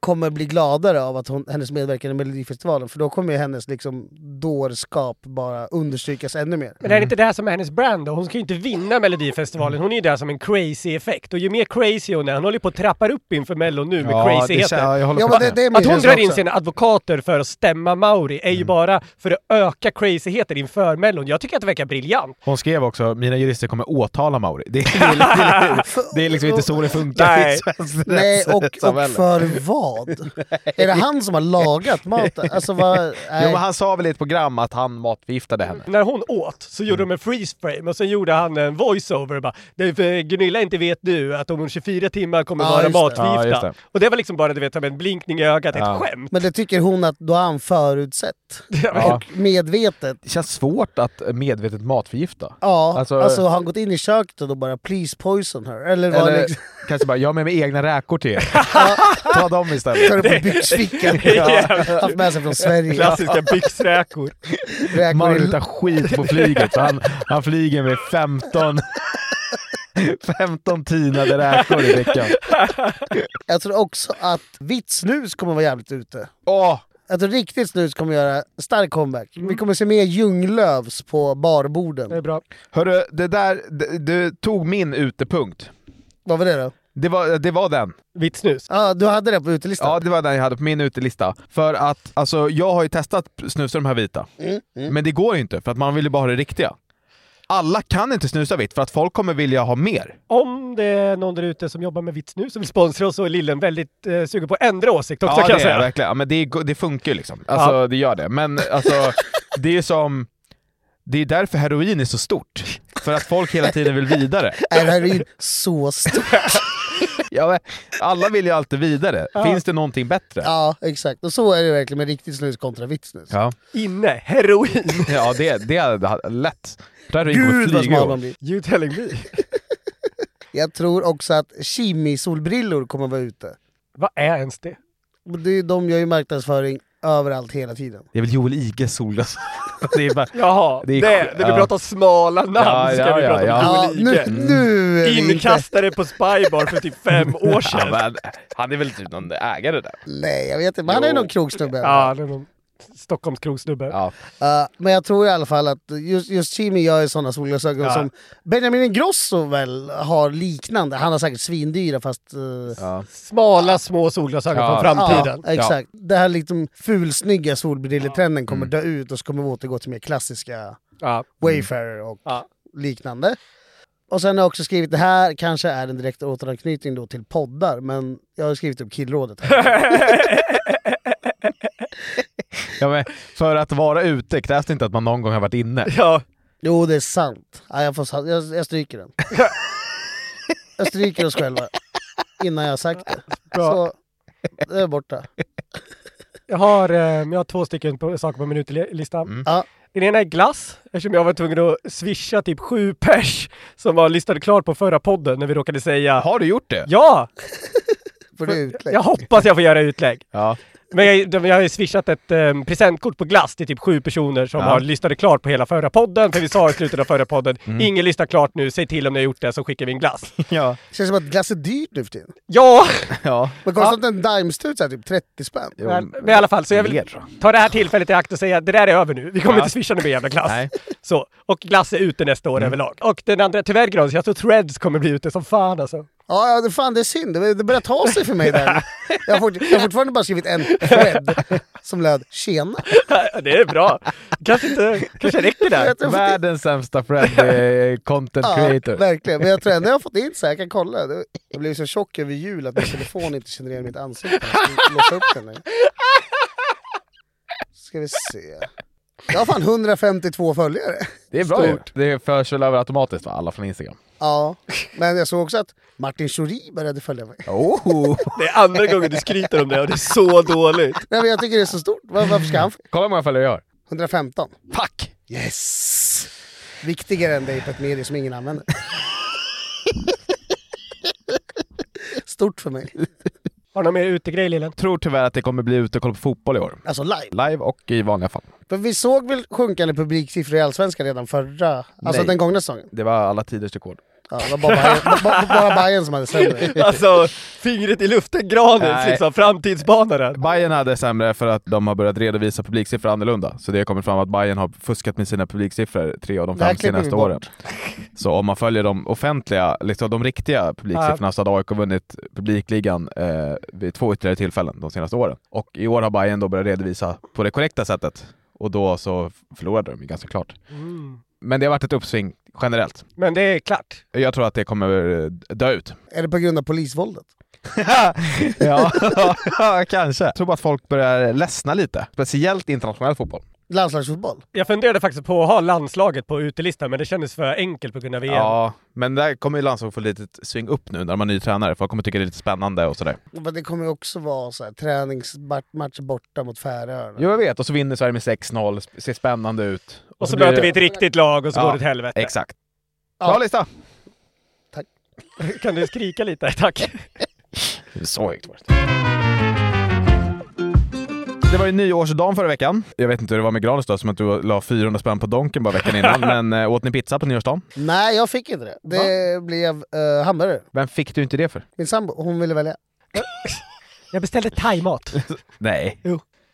Speaker 4: kommer bli gladare av att hon, hennes medverkan i Melodifestivalen för då kommer ju hennes liksom dårskap bara understrykas ännu mer.
Speaker 3: Men är
Speaker 2: Mm.
Speaker 3: det inte det här som är hennes brand då? Hon ska ju inte vinna Melodifestivalen. Hon är ju där som en crazy effekt. Och ju mer crazy hon är, hon håller ju på att trappar upp inför Mello nu med
Speaker 2: Ja, det,
Speaker 3: crazyheten.
Speaker 2: ja, jag håller
Speaker 4: Ja,
Speaker 2: på
Speaker 4: men det,
Speaker 2: med. Mm.
Speaker 4: det är min
Speaker 3: Att hon
Speaker 4: känsla
Speaker 3: drar in
Speaker 4: också.
Speaker 3: sina advokater för att stämma Mauri är ju bara för att öka crazyheten inför Mellon. Jag tycker att det verkar briljant.
Speaker 2: Hon skrev också mina jurister kommer åtala Mauri. Det, det, är- det, är- det är liksom inte så det funkar
Speaker 3: Nej.
Speaker 2: i svenskt
Speaker 4: Nej, och, och
Speaker 2: rättssamhälle.
Speaker 4: för vad? Är det han som har lagat maten? Alltså vad...
Speaker 2: Jo, men
Speaker 4: Nej.
Speaker 2: han sa väl i ett program att han matförgiftade henne.
Speaker 3: När hon åt så gjorde
Speaker 2: Mm.
Speaker 3: de en freeze frame och sen gjorde han en voiceover och bara "Det- för Gunilla inte vet nu att om 24 timmar kommer
Speaker 4: Ja,
Speaker 3: vara
Speaker 4: just det.
Speaker 2: Ja,
Speaker 3: matförgiftad.
Speaker 2: just det.
Speaker 3: och det var liksom bara du vet som en blinkning i ögat, ett
Speaker 2: Ja.
Speaker 3: skämt.
Speaker 4: Men det tycker hon att då har han förutsett.
Speaker 2: Ja.
Speaker 4: Och medvetet.
Speaker 2: Det känns svårt att medvetet matförgifta.
Speaker 4: Ja, alltså,
Speaker 2: Alltså-
Speaker 4: har han gått in i köket och då bara “please poison her”? Eller, var
Speaker 2: Eller
Speaker 4: liksom,
Speaker 2: kanske bara, jag har med mig egna räkor till er. Ta dem istället.
Speaker 4: tar det på byxfickan?
Speaker 3: Jävlar.
Speaker 4: Haft med sig från Sverige.
Speaker 3: Klassiska Alltså, byxräkor.
Speaker 4: Räkor
Speaker 2: Mauri
Speaker 4: i,
Speaker 2: luktar skit på flyget. så Han, han flyger med 15, 15 tinade räkor i veckan.
Speaker 4: jag tror också att vitt snus kommer vara jävligt ute.
Speaker 2: Åh,
Speaker 4: Jag tror riktigt snus kommer göra stark comeback.
Speaker 2: Mm.
Speaker 4: Vi kommer se mer Ljunglöfs på
Speaker 3: Det
Speaker 4: barborden.
Speaker 3: är bra.
Speaker 2: hörru, det där, det, du tog min utepunkt.
Speaker 4: Vad var det då?
Speaker 2: Det var, det var den.
Speaker 3: Vitt snus.
Speaker 4: Ja, du hade det på utelistan?
Speaker 2: Ja, det var den jag hade på min utelista. För att, alltså jag har ju testat snusa de här vita.
Speaker 4: Mm,
Speaker 2: Men det går ju inte, för att man vill ju bara ha det riktiga. Alla kan inte snusa vitt, för att folk kommer vilja ha mer.
Speaker 3: Om det är någon där ute som jobbar med vitt snus som vill sponsra oss så är Lillen väldigt eh, sugen på att ändra åsikt också
Speaker 2: Ja,
Speaker 3: kan jag
Speaker 2: det är
Speaker 3: säga.
Speaker 2: det, verkligen. Ja, men det, är- det funkar ju liksom. Alltså, det gör det. Men alltså, det är ju som... Det är därför heroin är så stort. För att folk hela tiden vill vidare.
Speaker 4: Är heroin så stort?
Speaker 2: Ja, men alla vill ju alltid vidare. Finns det någonting bättre?
Speaker 4: Ja, exakt. Och så är det verkligen med riktigt snus kontra vitt snus.
Speaker 2: Ja,
Speaker 3: Inne, heroin.
Speaker 2: ja det, det är lätt. Där är
Speaker 4: Gud vad smal man blir.
Speaker 3: You telling me.
Speaker 4: Jag tror också att Kimi-solbrillor kommer vara ute.
Speaker 3: Vad är ens det?
Speaker 4: Men det är- De gör ju marknadsföring överallt hela tiden.
Speaker 2: Det är väl Joel Iges sol. Det är bara...
Speaker 3: Jaha,
Speaker 2: Det
Speaker 3: det,
Speaker 2: är
Speaker 3: det,
Speaker 2: sjuk-
Speaker 3: vi
Speaker 2: ja.
Speaker 3: pratar smala namn
Speaker 2: Ja,
Speaker 3: ska
Speaker 2: ja,
Speaker 3: vi
Speaker 2: ja,
Speaker 3: prata
Speaker 2: ja.
Speaker 3: om.
Speaker 4: Ja,
Speaker 3: Joel
Speaker 4: nu,
Speaker 3: Ige.
Speaker 4: nu är vi inte...
Speaker 3: Inkastare på Spybar för typ fem år sedan. Ja,
Speaker 2: han är väl typ någon ägare där?
Speaker 4: Nej, jag vet inte. Men han är ju någon krogsnubbe.
Speaker 3: det är någon Stockholms krogsnubbe.
Speaker 2: Ja.
Speaker 4: Uh, men jag tror i alla fall att just, just Kimi gör ju sådana solglasögon
Speaker 3: Ja.
Speaker 4: som Benjamin Ingrosso väl har liknande. Han har säkert svindyra fast... eh,
Speaker 2: Ja.
Speaker 3: Smala små solglasögon
Speaker 2: Ja.
Speaker 3: från
Speaker 4: ja,
Speaker 3: framtiden.
Speaker 4: exakt. Det här liksom fulsnygga solbrillertrenden kommer
Speaker 3: Mm.
Speaker 4: dö ut och så kommer vi återgå till mer klassiska
Speaker 3: Ja.
Speaker 4: Wayfarer och
Speaker 3: Mm. Ja.
Speaker 4: liknande. Och sen har jag också skrivit, det här kanske är en direkt återanknytning då till poddar, men jag har skrivit upp Killrådet. här.
Speaker 2: Ja, men för att vara ute krävs det inte att man någon gång har varit inne.
Speaker 3: Ja.
Speaker 4: jo, det är sant. Ja, jag, får, sa- jag, jag stryker den. jag stryker oss själva innan jag har sagt det.
Speaker 3: Bra.
Speaker 4: Så, det är borta.
Speaker 3: Jag, har, eh, jag har två stycken på, saker på minutlistan.
Speaker 4: Ja.
Speaker 3: Den ena är glass, eftersom jag var tvungen att swisha typ sju pers som var lyssnade klart på förra podden när vi råkade säga
Speaker 2: Har du gjort det?
Speaker 3: Ja!
Speaker 4: För det är utlägg.
Speaker 3: Jag hoppas jag får göra utlägg.
Speaker 2: Ja.
Speaker 3: Men jag, de- jag har ju swishat ett eh, presentkort på glass till typ sju personer som
Speaker 2: Ja.
Speaker 3: har lyssnat klart på hela förra podden. För vi sa i slutet av förra podden,
Speaker 4: Mm.
Speaker 3: ingen lyssnar klart nu, säg till om ni har gjort det så skickar vi en glass.
Speaker 2: Ja.
Speaker 4: Känns som att glass är dyrt nu för tiden.
Speaker 3: ja!
Speaker 2: ja.
Speaker 4: Men kostar inte en daimstut så här typ 30 spänn?
Speaker 3: Men, men i alla fall, så jag vill
Speaker 2: Mer, tror
Speaker 3: ta det här tillfället i akt och säga att det där är över nu. Vi kommer
Speaker 2: Ja.
Speaker 3: inte swisha någon mer jävla glass.
Speaker 2: Nej.
Speaker 3: Så, och glass är ute nästa år överlag. Och den andra, tyvärr Granis, jag tror Threads kommer bli ute som fan alltså.
Speaker 4: Ja, ja, det- fan det är synd. Det det börjar ta sig för mig där. Jag har, fort, jag har fortfarande bara skrivit en thread som löd “Tjena”.
Speaker 3: det är bra. Kanske inte, kanske räcker där.
Speaker 4: tror-
Speaker 2: Världens sämsta Fred eh, content
Speaker 4: Ja,
Speaker 2: creator.
Speaker 4: verkligen. Men jag tror ändå jag har fått in så här, jag kan kolla. Det- Jag blev så tjock över jul att min telefon inte känner igen mitt ansikte. Jag ska låsa upp den nu. Ska vi se. Jag har fan 152 följare.
Speaker 2: Det är bra gjort. Det förs väl över automatiskt va? Alla från Instagram.
Speaker 4: Ja, men jag såg också att Martin Schori började följa mig.
Speaker 2: Oh.
Speaker 3: Det är andra gången du skryter om det och det är så dåligt.
Speaker 4: Nej, men jag tycker det är så stort. Var- Varför ska han...
Speaker 2: Kolla hur många följare jag har.
Speaker 4: 115.
Speaker 2: Fuck!
Speaker 4: Yes! Viktigare än dig på ett medie som ingen använder. Stort för mig.
Speaker 3: Har du någon mer utegrej Lillen?
Speaker 2: Tror tyvärr att det kommer bli ute och kolla på fotboll i år.
Speaker 4: Alltså live.
Speaker 2: Live och i vanliga fall.
Speaker 4: För vi såg väl sjunkande publiksiffror i Allsvenskan redan förra, alltså
Speaker 2: Nej.
Speaker 4: den gångna säsongen?
Speaker 2: Det var alla tiders rekord.
Speaker 4: Ja, det var bara Bajen- ba- ba- bara Bajen som hade sämre.
Speaker 3: Alltså, fingret i luften, Granis
Speaker 2: Nej.
Speaker 3: liksom, framtidsbanaren.
Speaker 2: Bayern hade sämre för att de har börjat redovisa publiksiffror annorlunda. Så det har kommit fram att Bayern har fuskat med sina publiksiffror tre av de
Speaker 4: Det här
Speaker 2: fem
Speaker 4: klipper vi
Speaker 2: senaste
Speaker 4: bort.
Speaker 2: åren. Så om man följer de offentliga, liksom de riktiga publiksiffrorna så hade AIK vunnit publikligan eh, vid två ytterligare tillfällen de senaste åren. Och i år har Bayern då börjat redovisa på det korrekta sättet. Och då så förlorade de ju ganska klart. Men det har varit ett uppsving generellt.
Speaker 3: Mm. Men det är klart.
Speaker 2: Jag tror att det kommer eh, dö ut.
Speaker 4: Är det på grund av polisvåldet?
Speaker 2: ja, kanske. Jag tror bara att folk börjar ledsna lite. Speciellt internationell fotboll.
Speaker 4: Landslagsfotboll?
Speaker 3: Jag funderade faktiskt på att ha landslaget på utelistan, men det kändes för enkelt på grund av E VM.
Speaker 2: Ja, men där kommer ju landslaget få lite sving upp nu när man är ny tränare. Folk kommer tycka det är lite spännande och sådär.
Speaker 4: Men det kommer ju också vara så här, träningsmatch borta mot Färöarna.
Speaker 2: Jo, jag vet. Och så vinner Sverige med 6-0. sp- Ser spännande ut.
Speaker 3: Och så,
Speaker 2: blir
Speaker 3: möter
Speaker 2: det-
Speaker 3: vi ett riktigt lag och så
Speaker 2: Ja,
Speaker 3: går det åt helvete.
Speaker 2: Exakt.
Speaker 4: Ja.
Speaker 2: Bra lista!
Speaker 3: Kan du skrika lite? Tack.
Speaker 2: Så högt var det. Det var ju nyårsdagen förra veckan. Jag vet inte hur det var med Granis då, som att du la 400 spänn på Donken bara veckan innan. Men eh, åt ni pizza på nyårsdagen?
Speaker 4: Nej, jag fick inte det. Det blev eh, hamburgare.
Speaker 2: Vem fick du inte det för?
Speaker 4: Min sambo, hon ville välja.
Speaker 3: Jag beställde thaimat.
Speaker 2: Nej.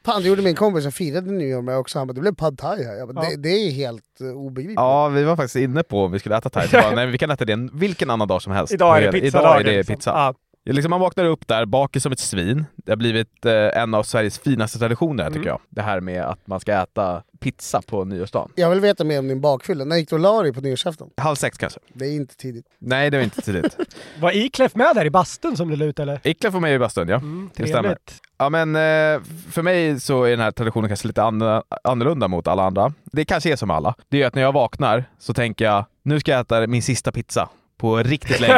Speaker 4: Fan, det gjorde min kompis. Jag firade nyår med också. Han bara, det blev pad thai här. Jag bara, det, det är helt eh, obegripligt.
Speaker 2: Ja, vi var faktiskt inne på om vi skulle äta thai. Så bara, Nej, vi kan äta det en- vilken annan dag som helst.
Speaker 3: Idag är det
Speaker 2: Idag
Speaker 3: pizzadagen.
Speaker 2: är det
Speaker 3: liksom.
Speaker 2: pizza.
Speaker 3: Ja.
Speaker 2: Ja, Liksom man vaknar upp där, bakis som ett svin. Det har blivit eh, en av Sveriges finaste traditioner tycker jag. Det här med att man ska äta pizza på nyårsdagen.
Speaker 4: Jag vill veta mer om din bakfylla. När gick du och la dig på nyårsafton?
Speaker 2: Halv sex kanske?
Speaker 4: Det är inte tidigt.
Speaker 2: Nej, det var inte tidigt.
Speaker 3: Var Ikläff med där i bastun som du la ut eller?
Speaker 2: Ikla får mig i bastun, ja.
Speaker 3: Mm,
Speaker 2: Det stämmer.
Speaker 3: trevligt.
Speaker 2: Ja, men eh, för mig så är den här traditionen kanske lite an- annorlunda mot alla andra. Det kanske är som alla. Det är att när jag vaknar så tänker jag, nu ska jag äta min sista pizza på riktigt länge.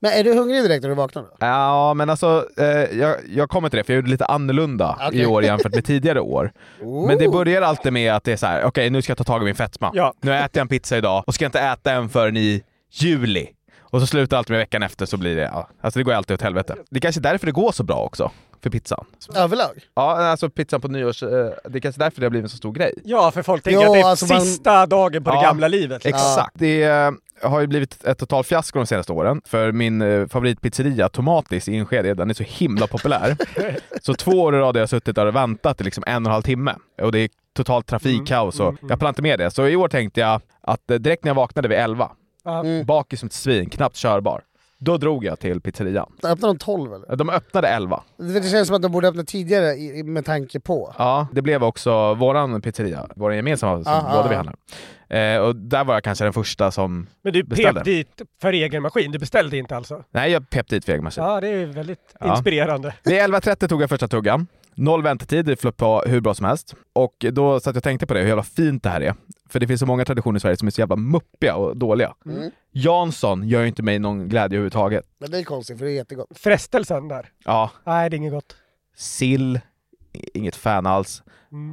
Speaker 4: Men är du hungrig direkt när du vaknar då?
Speaker 2: Ja, men alltså, eh, jag, jag kommer till det, för jag gjorde lite annorlunda
Speaker 4: Okej.
Speaker 2: i år jämfört med tidigare år. Men det börjar alltid med att det är så här: okej nu ska jag ta tag i min fetma.
Speaker 3: Ja.
Speaker 2: Nu äter jag en pizza idag och ska inte äta en förrän i juli. Och så slutar allt med veckan efter så blir det, ja, alltså det går alltid åt helvete. Det är kanske är därför det går så bra också, för pizzan.
Speaker 4: Överlag?
Speaker 2: Ja, alltså pizzan på nyårs, eh, det är kanske därför det har blivit en så stor grej.
Speaker 3: Ja, för folk tänker
Speaker 4: Jo,
Speaker 3: att det är
Speaker 4: alltså man-
Speaker 3: sista dagen på det
Speaker 2: Ja,
Speaker 3: gamla livet. liksom.
Speaker 2: Exakt. Det eh, har ju blivit ett totalt fiasko de senaste åren. För min eh, favoritpizzeria, Tomatis i Enskede, den är så himla populär. så två år i rad har jag suttit där och väntat i liksom en och en halv timme. Och det är totalt trafikkaos och jag pallar inte med det. Så i år tänkte jag att eh, direkt när jag vaknade vid elva,
Speaker 3: Ja.
Speaker 2: bakis som ett svin, knappt körbar. Då drog jag till pizzerian.
Speaker 4: Öppnar de 12 eller?
Speaker 2: De öppnade elva.
Speaker 4: Det det känns som att de borde öppna tidigare i, i- med tanke på.
Speaker 2: Ja, det blev också våran pizzeria, vår gemensamma som
Speaker 4: Ah,
Speaker 2: båda
Speaker 4: ah,
Speaker 2: vi
Speaker 4: ah.
Speaker 2: handlar. Eh, och där var jag kanske den första som...
Speaker 3: Men du
Speaker 2: Beställde.
Speaker 3: pep dit för egen maskin, du beställde inte alltså?
Speaker 2: Nej, jag pep dit för egen maskin.
Speaker 3: Ja, det är väldigt
Speaker 2: Typ. Ja.
Speaker 3: inspirerande.
Speaker 2: Vid 11.30 tog jag första tuggan. Noll väntetid, det flöt på hur bra som helst. Och då satt jag och tänkte på det, hur jävla fint det här är. För det finns så många traditioner i Sverige som är så jävla muppiga och dåliga. Jansson gör ju inte mig någon glädje överhuvudtaget.
Speaker 4: Men det är konstigt för det är jättegott.
Speaker 3: Frestelsen där.
Speaker 2: Ja,
Speaker 3: Nej, det är inget gott.
Speaker 2: sill, i- inget fan alls.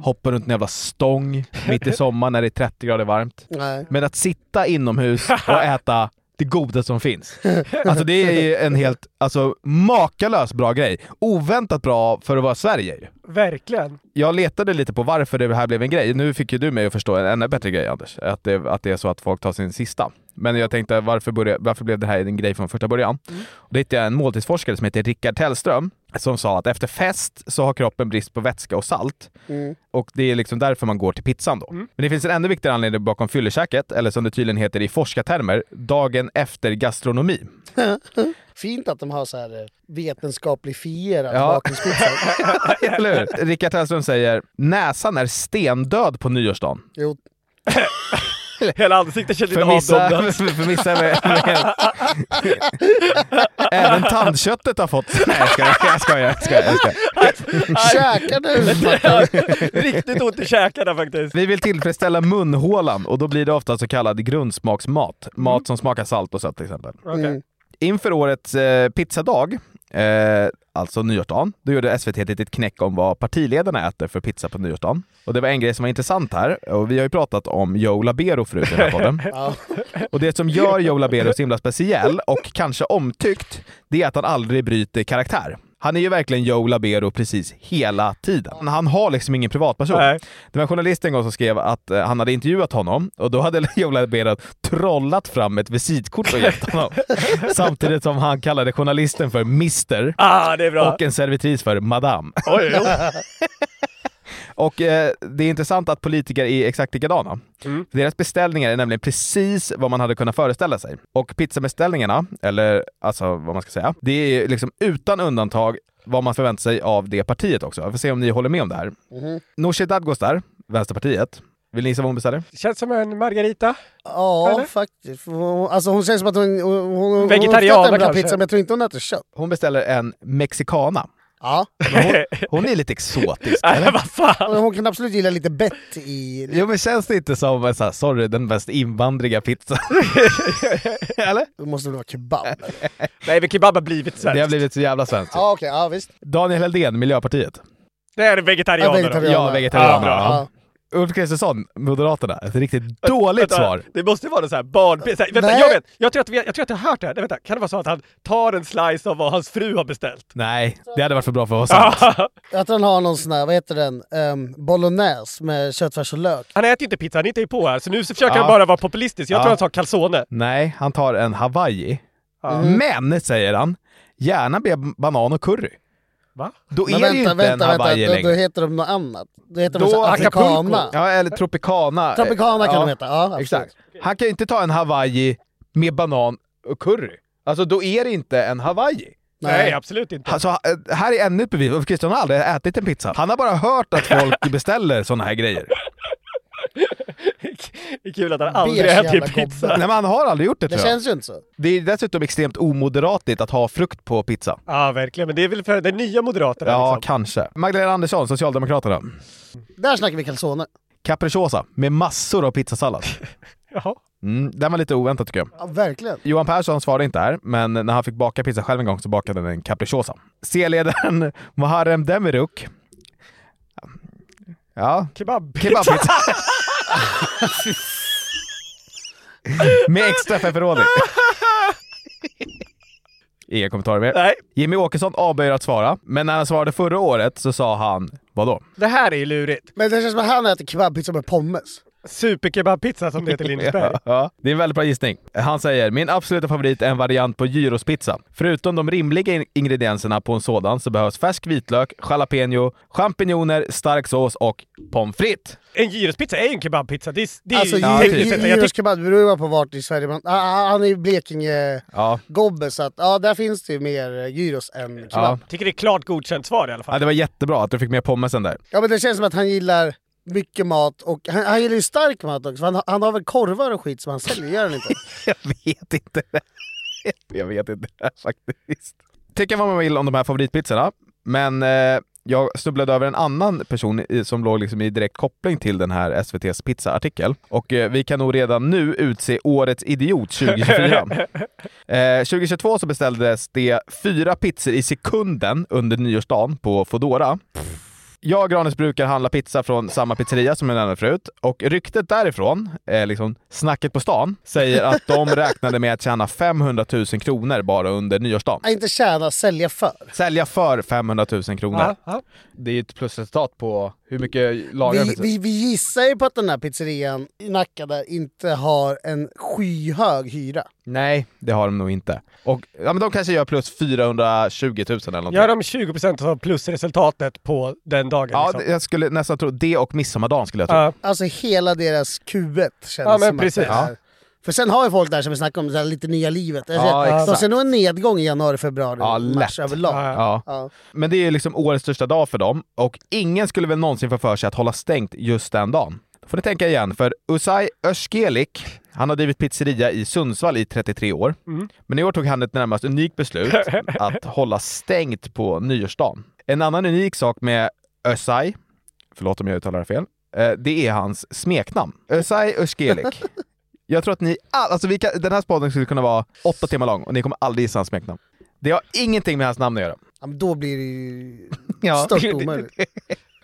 Speaker 2: Hoppar runt en jävla stång mitt i sommaren när det är 30 grader varmt.
Speaker 4: Nej.
Speaker 2: Men att sitta inomhus och äta det goda som finns. Alltså det är ju en helt alltså, makalös bra grej. Oväntat bra för att vara Sverige ju.
Speaker 3: Verkligen.
Speaker 2: jag letade lite på varför det här blev en grej. Nu fick ju du mig att förstå en ännu bättre grej Anders, att det, att det är så att folk tar sin sista. Men jag tänkte, varför, börja, varför blev det här en grej från första början? Och då hittade jag en måltidsforskare som heter Rickard Tellström som sa att efter fest så har kroppen brist på vätska och salt. Och det är liksom därför man går till pizzan då. Men det finns en ännu viktigare anledning bakom fyllekäket, eller som det tydligen heter i forskartermer, dagen efter gastronomi.
Speaker 4: Fint att de har så här eh, vetenskapligfierat
Speaker 2: Ja.
Speaker 4: bakningspizza.
Speaker 2: Eller hur? Rickard Tellström säger, näsan är stendöd på nyårsdagen.
Speaker 4: Jo,
Speaker 3: Hela ansiktet känns lite
Speaker 2: För vissa,
Speaker 3: avdomnat.
Speaker 2: för, för vissa är är- Även tandköttet har fått... Nej jag skojar, jag skojar, jag skojar, jag skojar.
Speaker 4: käkar du?
Speaker 3: Riktigt ont i käkarna faktiskt.
Speaker 2: Vi vill tillfredsställa munhålan och då blir det ofta så kallad grundsmaksmat. Mat som smakar salt och sött till exempel.
Speaker 3: Okej.
Speaker 4: Mm.
Speaker 2: Inför årets eh, pizzadag, eh, alltså nyårsdagen, då gjorde SVT ett litet knäck om vad partiledarna äter för pizza på nyårsdagen. Och det var en grej som var intressant här, och vi har ju pratat om Joe Labero förut i den här podden.
Speaker 4: Ja.
Speaker 2: Och det som gör Joe Labero så himla speciell och kanske omtyckt, det är att han aldrig bryter karaktär. Han är ju verkligen Joe Labero precis hela tiden. Han har liksom ingen privatperson.
Speaker 3: Nej.
Speaker 2: Det var en journalist en gång som skrev att eh, han hade intervjuat honom och då hade Joe Labero trollat fram ett visitkort och gett honom. Samtidigt som han kallade journalisten för Mister
Speaker 3: Ah, det är bra.
Speaker 2: och en servitris för Madame.
Speaker 3: Oj, oj, oj.
Speaker 2: Och eh, det är intressant att politiker är exakt likadana.
Speaker 3: Mm.
Speaker 2: Deras beställningar är nämligen precis vad man hade kunnat föreställa sig. Och pizzabeställningarna, eller alltså vad man ska säga, det är liksom utan undantag vad man förväntar sig av det partiet också. Vi får se om ni håller med om det här.
Speaker 3: Mm-hmm.
Speaker 2: Nooshi Dadgostar, Vänsterpartiet. Vill ni gissa vad hon beställer?
Speaker 3: Känns som en margarita.
Speaker 4: Ja,
Speaker 3: Eller?
Speaker 4: faktiskt. Hon- Alltså hon känns som att hon... hon, hon hon
Speaker 3: Vegetarianer
Speaker 4: uppskattar en bra
Speaker 3: kanske.
Speaker 4: pizza, men jag tror inte hon äter kött.
Speaker 2: Hon beställer en mexicana.
Speaker 4: Ja.
Speaker 2: Men hon, hon är lite exotisk.
Speaker 3: Nej, men vad fan.
Speaker 4: Men Hon kan absolut gilla lite bett i...
Speaker 2: Jo men känns det inte som, en så här, sorry, den mest invandriga pizzan? Eller?
Speaker 4: Det måste väl vara kebab? eller?
Speaker 3: Nej, men kebab har blivit
Speaker 2: Det har
Speaker 3: svenskt.
Speaker 2: blivit så jävla svenskt.
Speaker 4: Ja okej, ja visst.
Speaker 2: Daniel Heldén, Miljöpartiet.
Speaker 3: Det är
Speaker 4: Ja,
Speaker 3: vegetarianer. då.
Speaker 4: vegetarianer.
Speaker 2: Ja, vegetarianer.
Speaker 3: Ja,
Speaker 2: Ja. Ulf Kristersson, Moderaterna. Ett riktigt dåligt
Speaker 3: Vänta,
Speaker 2: svar.
Speaker 3: Det måste vara någon sån här barn... Så här, vänta,
Speaker 4: Nej.
Speaker 3: jag vet! Jag tror, att, vi- jag tror att jag har hört det här. Nej, vänta, kan det vara så att han tar en slice av vad hans fru har beställt?
Speaker 2: Nej, det hade varit för bra för att vara sant.
Speaker 4: Att han har någon sån här, vad heter den, Ehm, bolognese med köttfärs och lök.
Speaker 3: Han äter ju inte pizza, han hittar ju på här. Så nu så försöker
Speaker 2: Ja.
Speaker 3: han bara vara populistisk. Jag
Speaker 2: Ja.
Speaker 3: tror han sa calzone.
Speaker 2: Nej, han tar en hawaii. Men, säger han, gärna med banan och curry.
Speaker 3: Va?
Speaker 2: Då
Speaker 4: Men
Speaker 2: är det ju
Speaker 4: vänta,
Speaker 2: inte
Speaker 4: vänta,
Speaker 2: en
Speaker 4: vänta,
Speaker 2: hawaii
Speaker 4: då, då
Speaker 2: längre.
Speaker 4: heter de något annat. Då heter de
Speaker 2: Då-
Speaker 4: så här
Speaker 3: Acapulco.
Speaker 4: afrikana.
Speaker 2: Ja, eller tropicana.
Speaker 4: Tropicana kan
Speaker 2: Ja,
Speaker 4: de heta, ja absolut.
Speaker 2: Exakt. Han kan ju inte ta en hawaii med banan och curry. Alltså, då är det inte en hawaii.
Speaker 3: Nej,
Speaker 4: Nej.
Speaker 3: absolut inte.
Speaker 2: Alltså, här är ännu ett bevis. Ulf Kristersson har aldrig ätit en pizza. Han har bara hört att folk beställer såna här grejer.
Speaker 3: Det är kul att han aldrig
Speaker 4: Beige
Speaker 3: äter
Speaker 4: jävla
Speaker 3: pizza.
Speaker 4: gobbe.
Speaker 2: Nej, men han har aldrig gjort det,
Speaker 4: Det
Speaker 2: tror jag.
Speaker 4: känns ju inte så.
Speaker 2: Det är dessutom extremt omoderatigt att ha frukt på pizza.
Speaker 3: Ja, verkligen. Men det är väl för den nya Moderaterna
Speaker 2: Ja,
Speaker 3: liksom.
Speaker 2: kanske. Magdalena Andersson, Socialdemokraterna.
Speaker 4: Där snackar vi calzone.
Speaker 2: Capricciosa med massor av pizzasallad.
Speaker 3: Jaha.
Speaker 2: Mm, den var lite oväntad tycker jag.
Speaker 4: Ja, verkligen.
Speaker 2: Johan Persson svarade inte här, men när han fick baka pizza själv en gång så bakade han en capricciosa. C-ledaren Muharrem Demirok. Ja,
Speaker 3: Kebab.
Speaker 2: kebabpizza. med extra pepperoni. Inga kommentarer mer.
Speaker 3: Nej,
Speaker 2: Jimmy Åkesson avböjer att svara, men när han svarade förra året så sa han vadå?
Speaker 3: det här är ju lurigt.
Speaker 4: Men det känns som att han äter kebabpizza med pommes.
Speaker 3: Superkebabpizza som det heter i Lindesberg.
Speaker 2: Ja, det är en väldigt bra gissning. Han säger min absoluta favorit är en variant på gyrospizza. Förutom de rimliga in- ingredienserna på en sådan så behövs färsk vitlök, jalapeno, champinjoner, stark sås och pommes frites.
Speaker 3: En gyrospizza är ju en kebabpizza. Det är, det är
Speaker 4: Alltså
Speaker 3: ju
Speaker 2: ja, typ.
Speaker 3: tekniskt sett. Jag
Speaker 4: gyros
Speaker 3: tycker...
Speaker 4: kebab, det beror ju bara på vart i Sverige man... Ah, ah, Han är ju Blekinge-gobbe
Speaker 2: Ja.
Speaker 4: så att ja, där finns det ju mer eh, gyros än kebab.
Speaker 2: Ja.
Speaker 4: Ja.
Speaker 3: tycker det är klart godkänt svar i alla
Speaker 2: ja,
Speaker 3: fall.
Speaker 2: det var jättebra att du fick med pommesen där.
Speaker 4: men det känns som att han gillar mycket mat och han, han gillar ju stark mat också. för Han, han har väl korvar och skit som han säljer, gör han inte?
Speaker 2: Jag vet inte. Jag vet inte faktiskt. Tycka vad man vill om de här favoritpizzorna, men eh, jag snubblade över en annan person i, som låg liksom i direkt koppling till den här SVT's pizzaartikel. Och eh, vi kan nog redan nu utse årets idiot 2024. eh, 2022 så beställdes det fyra pizzor i sekunden under nyårsdagen på Foodora. Jag och Granis brukar handla pizza från samma pizzeria som jag nämnde förut och ryktet därifrån, eh, liksom snacket på stan, säger att de räknade med att tjäna 500 000 kronor bara under nyårsdagen.
Speaker 4: Nej, inte tjäna, sälja för.
Speaker 2: Sälja för 500 000 kronor.
Speaker 3: Ja, ja.
Speaker 2: Det är ju ett plusresultat på hur mycket lagar
Speaker 4: Vi, vi, vi gissar ju på att den här pizzerian i Nacka där inte har en skyhög hyra.
Speaker 2: Nej, det har de nog inte. Och ja, men de kanske gör plus 420 000 eller någonting.
Speaker 3: Gör de 20% av plusresultatet på den dagen
Speaker 2: Ja,
Speaker 3: liksom.
Speaker 2: det- jag skulle nästan tro det och midsommardagen skulle jag tro.
Speaker 3: Ja.
Speaker 4: Alltså hela deras Q1 känns
Speaker 3: Ja, men
Speaker 4: som
Speaker 3: precis.
Speaker 4: att det är... För sen har ju folk där som vi snackade om, det här lite nya livet. Jag
Speaker 2: Ja,
Speaker 4: ser- de
Speaker 2: exakt.
Speaker 4: ser nog en nedgång i januari, februari,
Speaker 2: Ja, lätt.
Speaker 4: mars överlag.
Speaker 3: Ja,
Speaker 2: Ja.
Speaker 4: Ja.
Speaker 2: Men det är ju liksom årets största dag för dem och ingen skulle väl någonsin få för sig att hålla stängt just den dagen. Då får ni tänka igen, för Usai Özgelik, han har drivit pizzeria i Sundsvall i 33 år. Men i år tog han ett närmast unikt beslut att hålla stängt på nyårsdagen. En annan unik sak med Özai, förlåt om jag uttalar det fel, eh, det är hans smeknamn. Özai Özgelik. Jag tror att ni all, alltså vi kan, den här spaden skulle kunna vara åtta timmar lång och ni kommer aldrig gissa hans smeknamn. Det har ingenting med hans namn att göra.
Speaker 4: Ja, men då blir det ju
Speaker 2: Ja.
Speaker 4: stört omöjligt.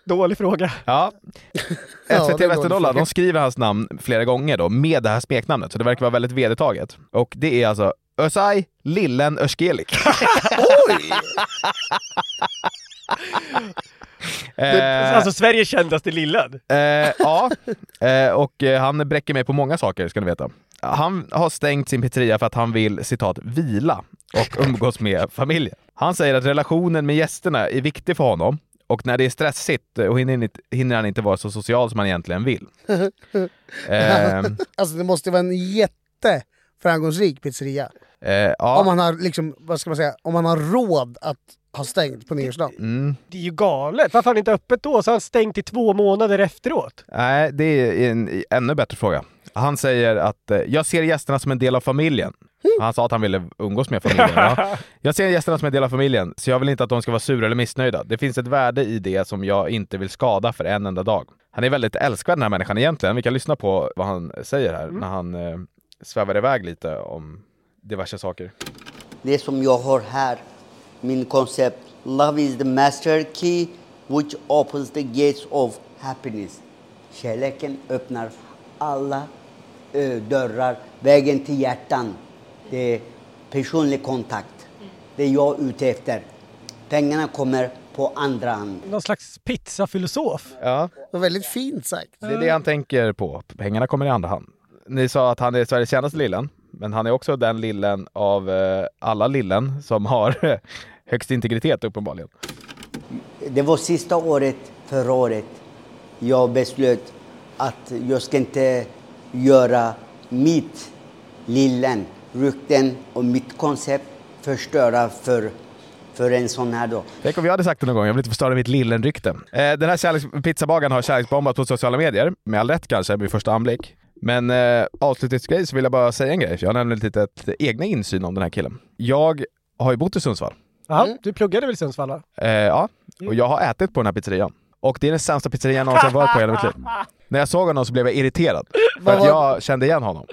Speaker 3: Dålig fråga.
Speaker 2: Ja.
Speaker 4: Ja,
Speaker 2: SVT
Speaker 4: det är
Speaker 2: Västernorrland, de
Speaker 4: dålig
Speaker 2: skriver hans namn flera gånger då med det här smeknamnet, så det verkar vara väldigt vedertaget. Och det är alltså Özay Lillen Özgelik.
Speaker 4: Oj!
Speaker 2: Eh,
Speaker 3: Alltså Sveriges kändaste lillad.
Speaker 2: Eh, ja, eh, och eh, han bräcker mig på många saker ska ni veta. Han har stängt sin pizzeria för att han vill citat vila och umgås med familjen. Han säger att relationen med gästerna är viktig för honom och när det är stressigt eh, och hinner, inte- hinner han inte vara så social som han egentligen vill. Eh,
Speaker 4: Alltså det måste vara en jätteframgångsrik pizzeria.
Speaker 2: eh,
Speaker 4: Om
Speaker 2: ja,
Speaker 4: man har liksom, vad ska man säga, om man har råd att ha stängt på nyårsdagen.
Speaker 2: mm,
Speaker 3: Det är ju galet. Varför har han inte öppet då? Så har han stängt i två månader efteråt.
Speaker 2: nej, det är en ännu bättre fråga. Han säger att eh, jag ser gästerna som en del av familjen. Han sa att han ville umgås med familjen. Ja. Jag ser gästerna som en del av familjen, så jag vill inte att de ska vara sura eller missnöjda. Det finns ett värde i det som jag inte vill skada för en enda dag. Han är väldigt älskvärd den här människan egentligen. Vi kan lyssna på vad han säger här när han eh, svävar iväg lite om diverse saker.
Speaker 5: det som jag har här, min koncept. Love is the master key which opens the gates of happiness. Kärleken öppnar alla eh, dörrar, vägen till hjärtan. Det är personlig kontakt. Det är jag ute efter. Pengarna kommer på andra hand.
Speaker 3: Någon slags pizzafilosof.
Speaker 2: Ja,
Speaker 4: Det var väldigt fint sagt.
Speaker 2: det är det han tänker på. Pengarna kommer i andra hand. Ni sa att han är Sveriges kändaste lillen, men han är också den lillen av eh, alla lillen som har högst integritet uppenbarligen.
Speaker 5: Det var sista året förra året jag beslöt att jag ska inte göra mitt lillen, rykten och mitt koncept förstöra för, för en sån här dag.
Speaker 2: Tänk om jag hade sagt det någon gång, jag vill inte förstöra mitt lillenrykte. Eh, den här kärleks- pizzabagaren har kärleksbombat på sociala medier, med all rätt kanske vid första anblick. Men eh, avslutningsgrej så vill jag bara säga en grej, för jag har nämligen lite ett egna insyn om den här killen. Jag har ju bott i Sundsvall,
Speaker 3: Ja, du pluggade väl i Sundsvalla?
Speaker 2: eh, Mm. ja, och jag har ätit på den här pizzerian. Och det är den sämsta pizzerian jag någonsin varit på i hela mitt liv. När jag såg honom så blev jag irriterad, för att jag kände igen honom.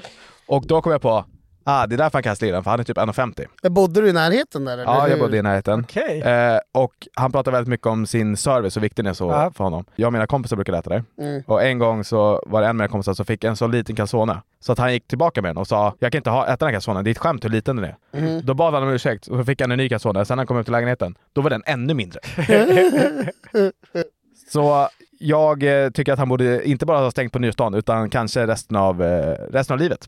Speaker 2: Och då kom jag på, ah det är därför han kallas lillen, för han är typ 1,50.
Speaker 4: Men Bodde du i närheten där? eller
Speaker 2: Ja, jag
Speaker 4: hur?
Speaker 2: bodde i närheten.
Speaker 3: Okej.
Speaker 2: Eh, och han pratar väldigt mycket om sin service och viktig den är så
Speaker 3: Ja.
Speaker 2: för honom. Jag och mina kompisar brukade äta där. Och en gång så var det en av mina kompisar som fick en så liten calzone. Så att han gick tillbaka med den och sa jag kan inte ha, äta den här calzonen, det är ett skämt hur liten den är. Då bad han om ursäkt och så fick han en ny calzone. Sen när han kom upp till lägenheten, då var den ännu mindre. så jag eh, tycker att han borde inte bara ha stängt på nyårsdagen utan kanske resten av, eh, resten av livet.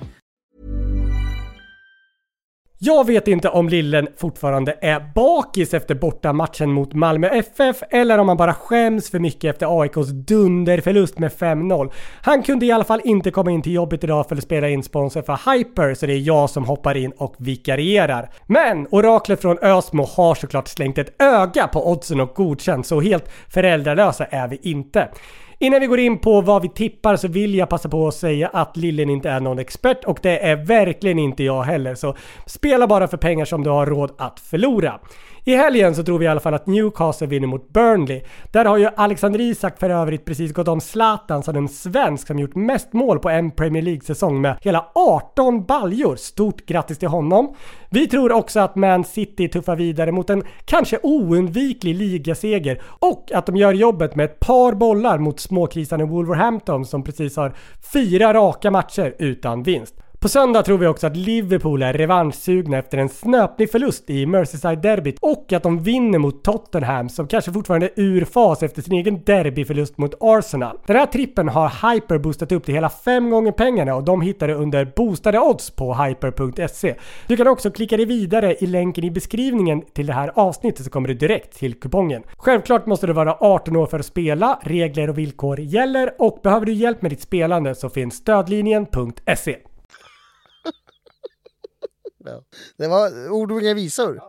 Speaker 3: Jag vet inte om Lillen fortfarande är bakis efter bortamatchen mot Malmö FF eller om han bara skäms för mycket efter AIKs dunderförlust med 5-0. Han kunde i alla fall inte komma in till jobbet idag för att spela in sponsor för Hyper så det är jag som hoppar in och vikarierar. Men oraklet från Ösmo har såklart slängt ett öga på oddsen och godkänt så helt föräldralösa är vi inte. Innan vi går in på vad vi tippar så vill jag passa på att säga att Lillen inte är någon expert och det är verkligen inte jag heller. Så spela bara för pengar som du har råd att förlora. I helgen så tror vi i alla fall att Newcastle vinner mot Burnley. Där har ju Alexander Isak för övrigt precis gått om Zlatan som den svensk som gjort mest mål på en Premier League-säsong med hela 18 baljor. Stort grattis till honom! Vi tror också att Man City tuffar vidare mot en kanske oundviklig ligaseger och att de gör jobbet med ett par bollar mot småkrisarna Wolverhampton som precis har fyra raka matcher utan vinst. På söndag tror vi också att Liverpool är revanschsugna efter en snöplig förlust i Merseyside-derbyt och att de vinner mot Tottenham som kanske fortfarande är ur fas efter sin egen derbyförlust mot Arsenal. Den här trippen har Hyper boostat upp till hela fem gånger pengarna och de hittar du under boostade odds på hyper.se. Du kan också klicka dig vidare i länken i beskrivningen till det här avsnittet så kommer du direkt till kupongen. Självklart måste du vara 18 år för att spela, regler och villkor gäller och behöver du hjälp med ditt spelande så finns stödlinjen.se.
Speaker 4: Ja. Det var ord och inga visor.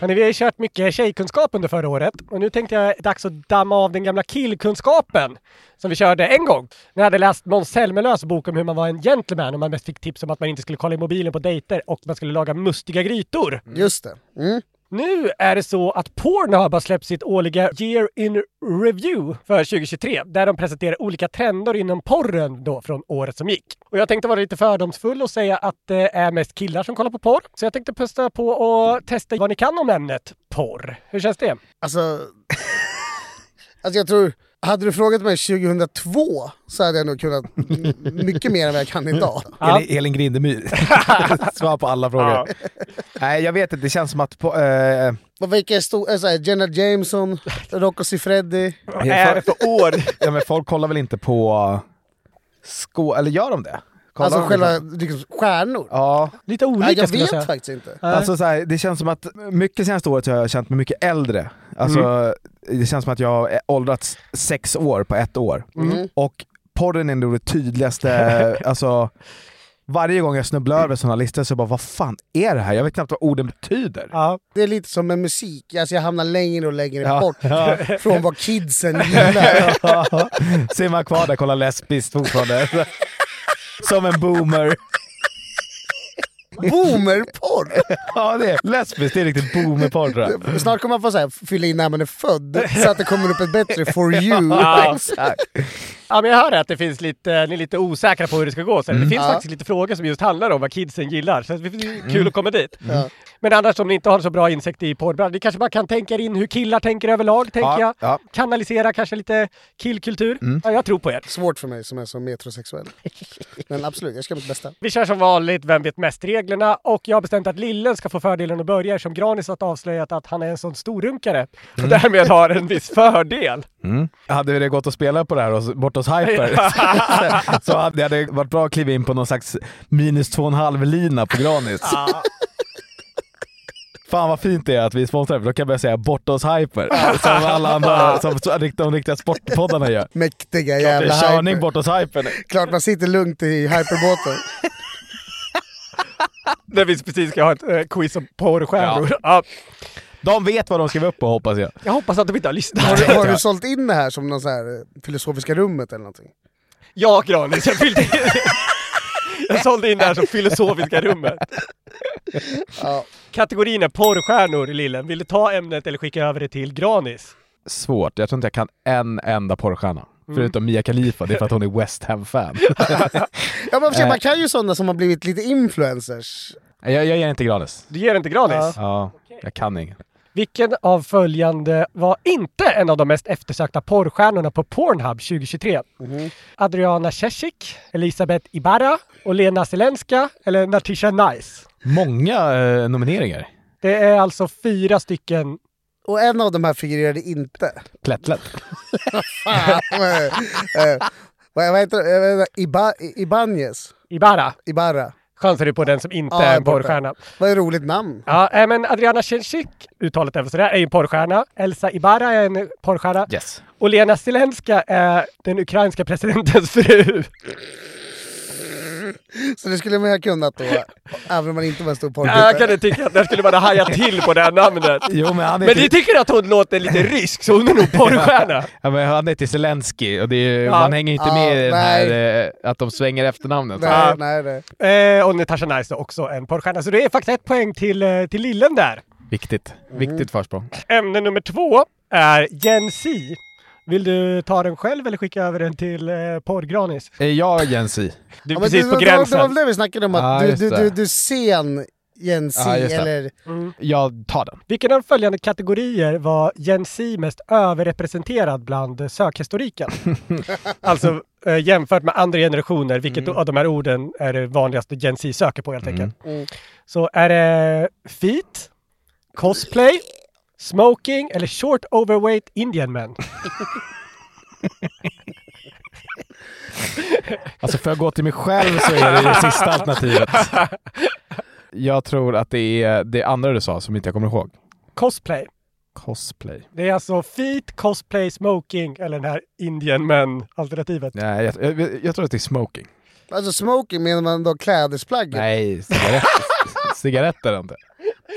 Speaker 3: Hörrni, vi har ju kört mycket tjejkunskap under förra året och nu tänkte jag dags att damma av den gamla killkunskapen som vi körde en gång. När jag hade läst Måns Zelmerlöws bok om hur man var en gentleman och man mest fick tips om att man inte skulle kolla i mobilen på dejter och man skulle laga mustiga grytor.
Speaker 4: Just det. Mm.
Speaker 3: Nu är det så att Pornhub har släppt sitt årliga Year in Review för 2023 där de presenterar olika trender inom porren då från året som gick. Och jag tänkte vara lite fördomsfull och säga att det är mest killar som kollar på porr. Så jag tänkte passa på och testa vad ni kan om ämnet porr. Hur känns det?
Speaker 4: Alltså... alltså jag tror... Hade du frågat mig 2002 så hade jag nog kunnat m- mycket mer än vad jag kan idag.
Speaker 3: Ja.
Speaker 2: Elin, Elin Grindemyr. Svar på alla frågor.
Speaker 3: Ja.
Speaker 2: Nej, jag vet inte. Det känns som att... På, eh,
Speaker 4: Och vilka är stora? Såhär, eh, Jenna Jameson, Rocco Siffredi.
Speaker 3: Vad är det för år?
Speaker 2: ja, men folk kollar väl inte på... Skå... Eller gör de det? Kollar
Speaker 4: Alltså
Speaker 2: de
Speaker 4: själva
Speaker 2: liksom-
Speaker 4: liksom, stjärnor.
Speaker 2: Ja,
Speaker 3: Lite
Speaker 4: Nej,
Speaker 3: olika
Speaker 4: jag
Speaker 3: skulle jag
Speaker 4: vet
Speaker 3: säga.
Speaker 4: faktiskt inte.
Speaker 3: Nej.
Speaker 2: alltså så här, det känns som att mycket senaste året har jag känt mig mycket äldre. Alltså,
Speaker 3: Mm.
Speaker 2: Det känns som att jag har åldrats sex år på ett år.
Speaker 3: Mm.
Speaker 4: Mm.
Speaker 2: Och porren är nog det tydligaste, alltså varje gång jag snubblar över sådana listor så bara vad fan är det här? Jag vet knappt vad orden betyder.
Speaker 3: Ja.
Speaker 4: Det är lite som med musik, alltså, jag hamnar längre och längre
Speaker 2: Ja.
Speaker 4: bort
Speaker 2: Ja.
Speaker 4: från vad kidsen gillar.
Speaker 2: Ser man kvar där kollar lesbiskt fortfarande. Som en boomer.
Speaker 4: Boomerporr!
Speaker 2: Ja det är lesbiskt, det är riktigt boomerporr tror jag.
Speaker 4: Snart kommer man få så här, fylla i när man är född, så att det kommer upp ett bättre for you.
Speaker 2: Exakt.
Speaker 3: ja, men jag hör att det finns lite, ni är lite osäkra på hur det ska gå. Så Det finns
Speaker 4: Ja.
Speaker 3: faktiskt lite frågor som just handlar om vad kidsen gillar. Så det är kul att komma dit.
Speaker 4: Ja.
Speaker 3: Men annars om ni inte har så bra insikt i porrbranschen, ni kanske bara kan tänka er in hur killar tänker överlag, tänker
Speaker 2: Ja,
Speaker 3: jag.
Speaker 2: ja.
Speaker 3: Kanalisera kanske lite killkultur. Ja, jag tror på er.
Speaker 4: Svårt för mig som är så metrosexuell. Men absolut, jag ska göra mitt bästa.
Speaker 3: Vi kör som vanligt Vem vet mest-reglerna och jag har bestämt att Lillen ska få fördelen att börja eftersom Granis har avslöjat att han är en sån storrunkare och därmed har en viss fördel.
Speaker 2: Hade det gått att spela på det här hos- bort hos Hyper så hade det hade varit bra att kliva in på någon slags minus 2,5-lina på Granis. Fan vad fint det är att vi är sponsrade, för då kan jag börja säga bort hos Hyper. Som alla andra, som de riktiga sportpoddarna gör.
Speaker 4: Mäktiga
Speaker 2: Det
Speaker 4: jävla
Speaker 2: är körning
Speaker 4: hyper.
Speaker 2: bort hos Hyper nu.
Speaker 4: Klart man sitter lugnt i hyperbåten.
Speaker 3: När vi precis ska ha ett eh, quiz om porrstjärnor. Ja.
Speaker 2: De vet vad de skrev upp på hoppas jag.
Speaker 3: Jag hoppas att de inte har
Speaker 4: Har
Speaker 3: lyssnat.
Speaker 4: du, har du sålt in det här som någon så här eh, filosofiska rummet eller någonting?
Speaker 3: Ja, Granis, jag fyllde in. Jag sålde in det här som filosofiska rummet.
Speaker 4: Ja.
Speaker 3: Kategorin är porrstjärnor, Lillen. Vill du ta ämnet eller skicka över det till Granis?
Speaker 2: Svårt. Jag tror inte jag kan en enda porrstjärna. Förutom Mia Khalifa, det är för att hon är West Ham-fan.
Speaker 4: Ja, man, försöker,
Speaker 2: Eh.
Speaker 4: man kan ju sådana som har blivit lite influencers.
Speaker 2: jag, jag ger inte Granis.
Speaker 3: Du ger den till Granis?
Speaker 2: Ja, jag kan ingen.
Speaker 3: Vilken av följande var inte en av de mest eftersökta porrstjärnorna på Pornhub 2023?
Speaker 4: Mhm.
Speaker 3: Adriana Cecik, Elisabeth Ibarra och Lena Zelenska eller Natisha Nice?
Speaker 2: Många eh, nomineringar.
Speaker 3: Det är alltså fyra stycken.
Speaker 4: Och en av de här figurerade inte.
Speaker 2: Plättlätt.
Speaker 4: Fan, vad- eh, vad vad heter det? Eh, Iba, Ibanez?
Speaker 3: Ibarra
Speaker 4: Ibarra?
Speaker 3: chansar du på den som inte
Speaker 4: Ja,
Speaker 3: är en
Speaker 4: jag borta.
Speaker 3: porrstjärna.
Speaker 4: Vad ett roligt namn.
Speaker 3: Ja, eh, men Adriana Cecik, uttalet även sådär, är ju en porrstjärna. Elsa Ibarra är en eh, porrstjärna.
Speaker 2: Yes.
Speaker 3: Och Lena Zelenska är den ukrainska presidentens fru.
Speaker 4: Så det skulle man ju ha kunnat då, även om man inte var en stor
Speaker 3: Jag
Speaker 4: porrtittare.
Speaker 3: kan inte tycka att jag skulle bara haja till på det här namnet.
Speaker 2: Jo, men han är
Speaker 3: Men ni
Speaker 2: till,
Speaker 3: tycker att hon låter lite rysk, så hon är nog porrstjärna.
Speaker 2: ja, men han är till Zelensky och det är,
Speaker 3: Ja.
Speaker 2: man hänger inte
Speaker 4: Ja,
Speaker 2: med i den
Speaker 4: nej.
Speaker 2: här eh, att de svänger efternamnet.
Speaker 4: Nej, nej, nej.
Speaker 3: Eh, och Natasha Nice är också en porrstjärna. Så det är faktiskt ett poäng till, eh, till lillen där.
Speaker 2: Viktigt.
Speaker 4: Mm.
Speaker 2: Viktigt försprång.
Speaker 3: Ämne nummer två är Gen Z. Vill du ta den själv eller skicka över den till eh, porrgranis?
Speaker 2: Är jag Jensi?
Speaker 3: Du är
Speaker 4: Ja, men
Speaker 3: precis
Speaker 4: det,
Speaker 3: på
Speaker 4: det, var- det var
Speaker 3: gränsen.
Speaker 4: väl det vi snackade om, att
Speaker 2: Ja,
Speaker 4: du,
Speaker 2: just
Speaker 4: du,
Speaker 2: det.
Speaker 4: du, du är sen Gen Z
Speaker 2: Ja, just det.
Speaker 4: eller...
Speaker 2: Jag tar den.
Speaker 3: Vilken av följande kategorier var Gen Z mest överrepresenterad bland eh, sökhistoriken? alltså eh, jämfört med andra generationer, vilket av de här orden är det vanligaste Gen Z söker på helt enkelt. Så är det feet, cosplay, smoking eller short overweight Indian men?
Speaker 2: Alltså för att gå till mig själv så är det det sista alternativet. Jag tror att det är det andra du sa som inte jag kommer ihåg.
Speaker 3: Cosplay.
Speaker 2: Cosplay.
Speaker 3: Det är alltså feet, cosplay, smoking eller den här Indian men alternativet.
Speaker 2: Nej, jag, jag, jag tror att det är smoking.
Speaker 4: Alltså smoking menar man då klädesplagget?
Speaker 2: Nej, cigaretter. cigaretter inte.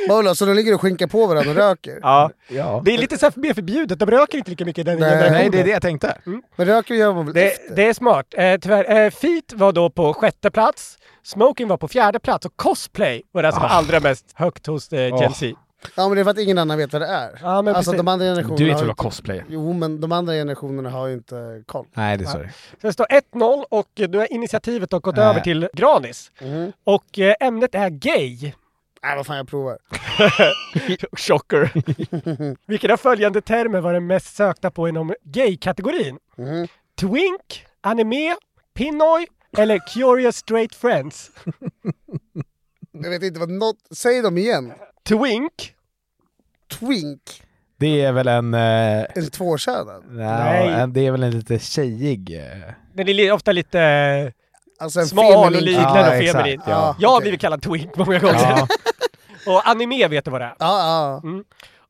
Speaker 4: Bola, så de ligger och skinkar på varandra och röker?
Speaker 3: Ja.
Speaker 2: Ja.
Speaker 3: Det är lite så här mer förbjudet, de röker inte lika mycket i den
Speaker 4: Nej.
Speaker 3: generationen.
Speaker 2: Nej, det är det jag tänkte.
Speaker 4: Men röker gör man väl
Speaker 3: Det,
Speaker 4: efter?
Speaker 3: det är smart. Eh, tyvärr, eh, Feet var då på sjätte plats, Smoking var på fjärde plats och Cosplay var det som var allra mest högt hos eh, Gen Z.
Speaker 4: Ja men det är för att ingen annan vet vad det är.
Speaker 3: Ja, men
Speaker 4: alltså
Speaker 3: precis.
Speaker 4: de andra generationerna
Speaker 2: Du vet
Speaker 4: har
Speaker 2: väl
Speaker 4: ju
Speaker 2: vad
Speaker 4: inte...
Speaker 2: cosplay är?
Speaker 4: Jo men de andra generationerna har ju inte koll.
Speaker 2: Nej, det är sorry.
Speaker 3: Så det står 1-0 och eh, nu har initiativet då gått
Speaker 2: Äh.
Speaker 3: över till Granis. Och eh, ämnet är gay.
Speaker 4: Nej vad fan jag provar.
Speaker 3: Chocker. Vilken av följande termer var den mest sökta på inom gay-kategorin? Twink, anime, pinnoy eller curious straight friends?
Speaker 4: Jag vet inte vad något... Säg dem igen.
Speaker 3: Twink?
Speaker 4: Twink.
Speaker 2: Det är väl en... Eh,
Speaker 4: Eller tvåkönad.
Speaker 2: Nej.
Speaker 3: Nej.
Speaker 2: det är väl en lite tjejig... eh,
Speaker 3: Den är li- ofta lite... eh,
Speaker 4: Alltså en
Speaker 3: Smal och
Speaker 4: feminin-
Speaker 3: liten
Speaker 2: Ja,
Speaker 3: och
Speaker 2: exakt,
Speaker 3: feminin.
Speaker 2: ja. Ja,
Speaker 3: Jag har
Speaker 4: okej.
Speaker 3: blivit kallad twink många gånger. och anime vet du vad det är.
Speaker 4: Ja, ja.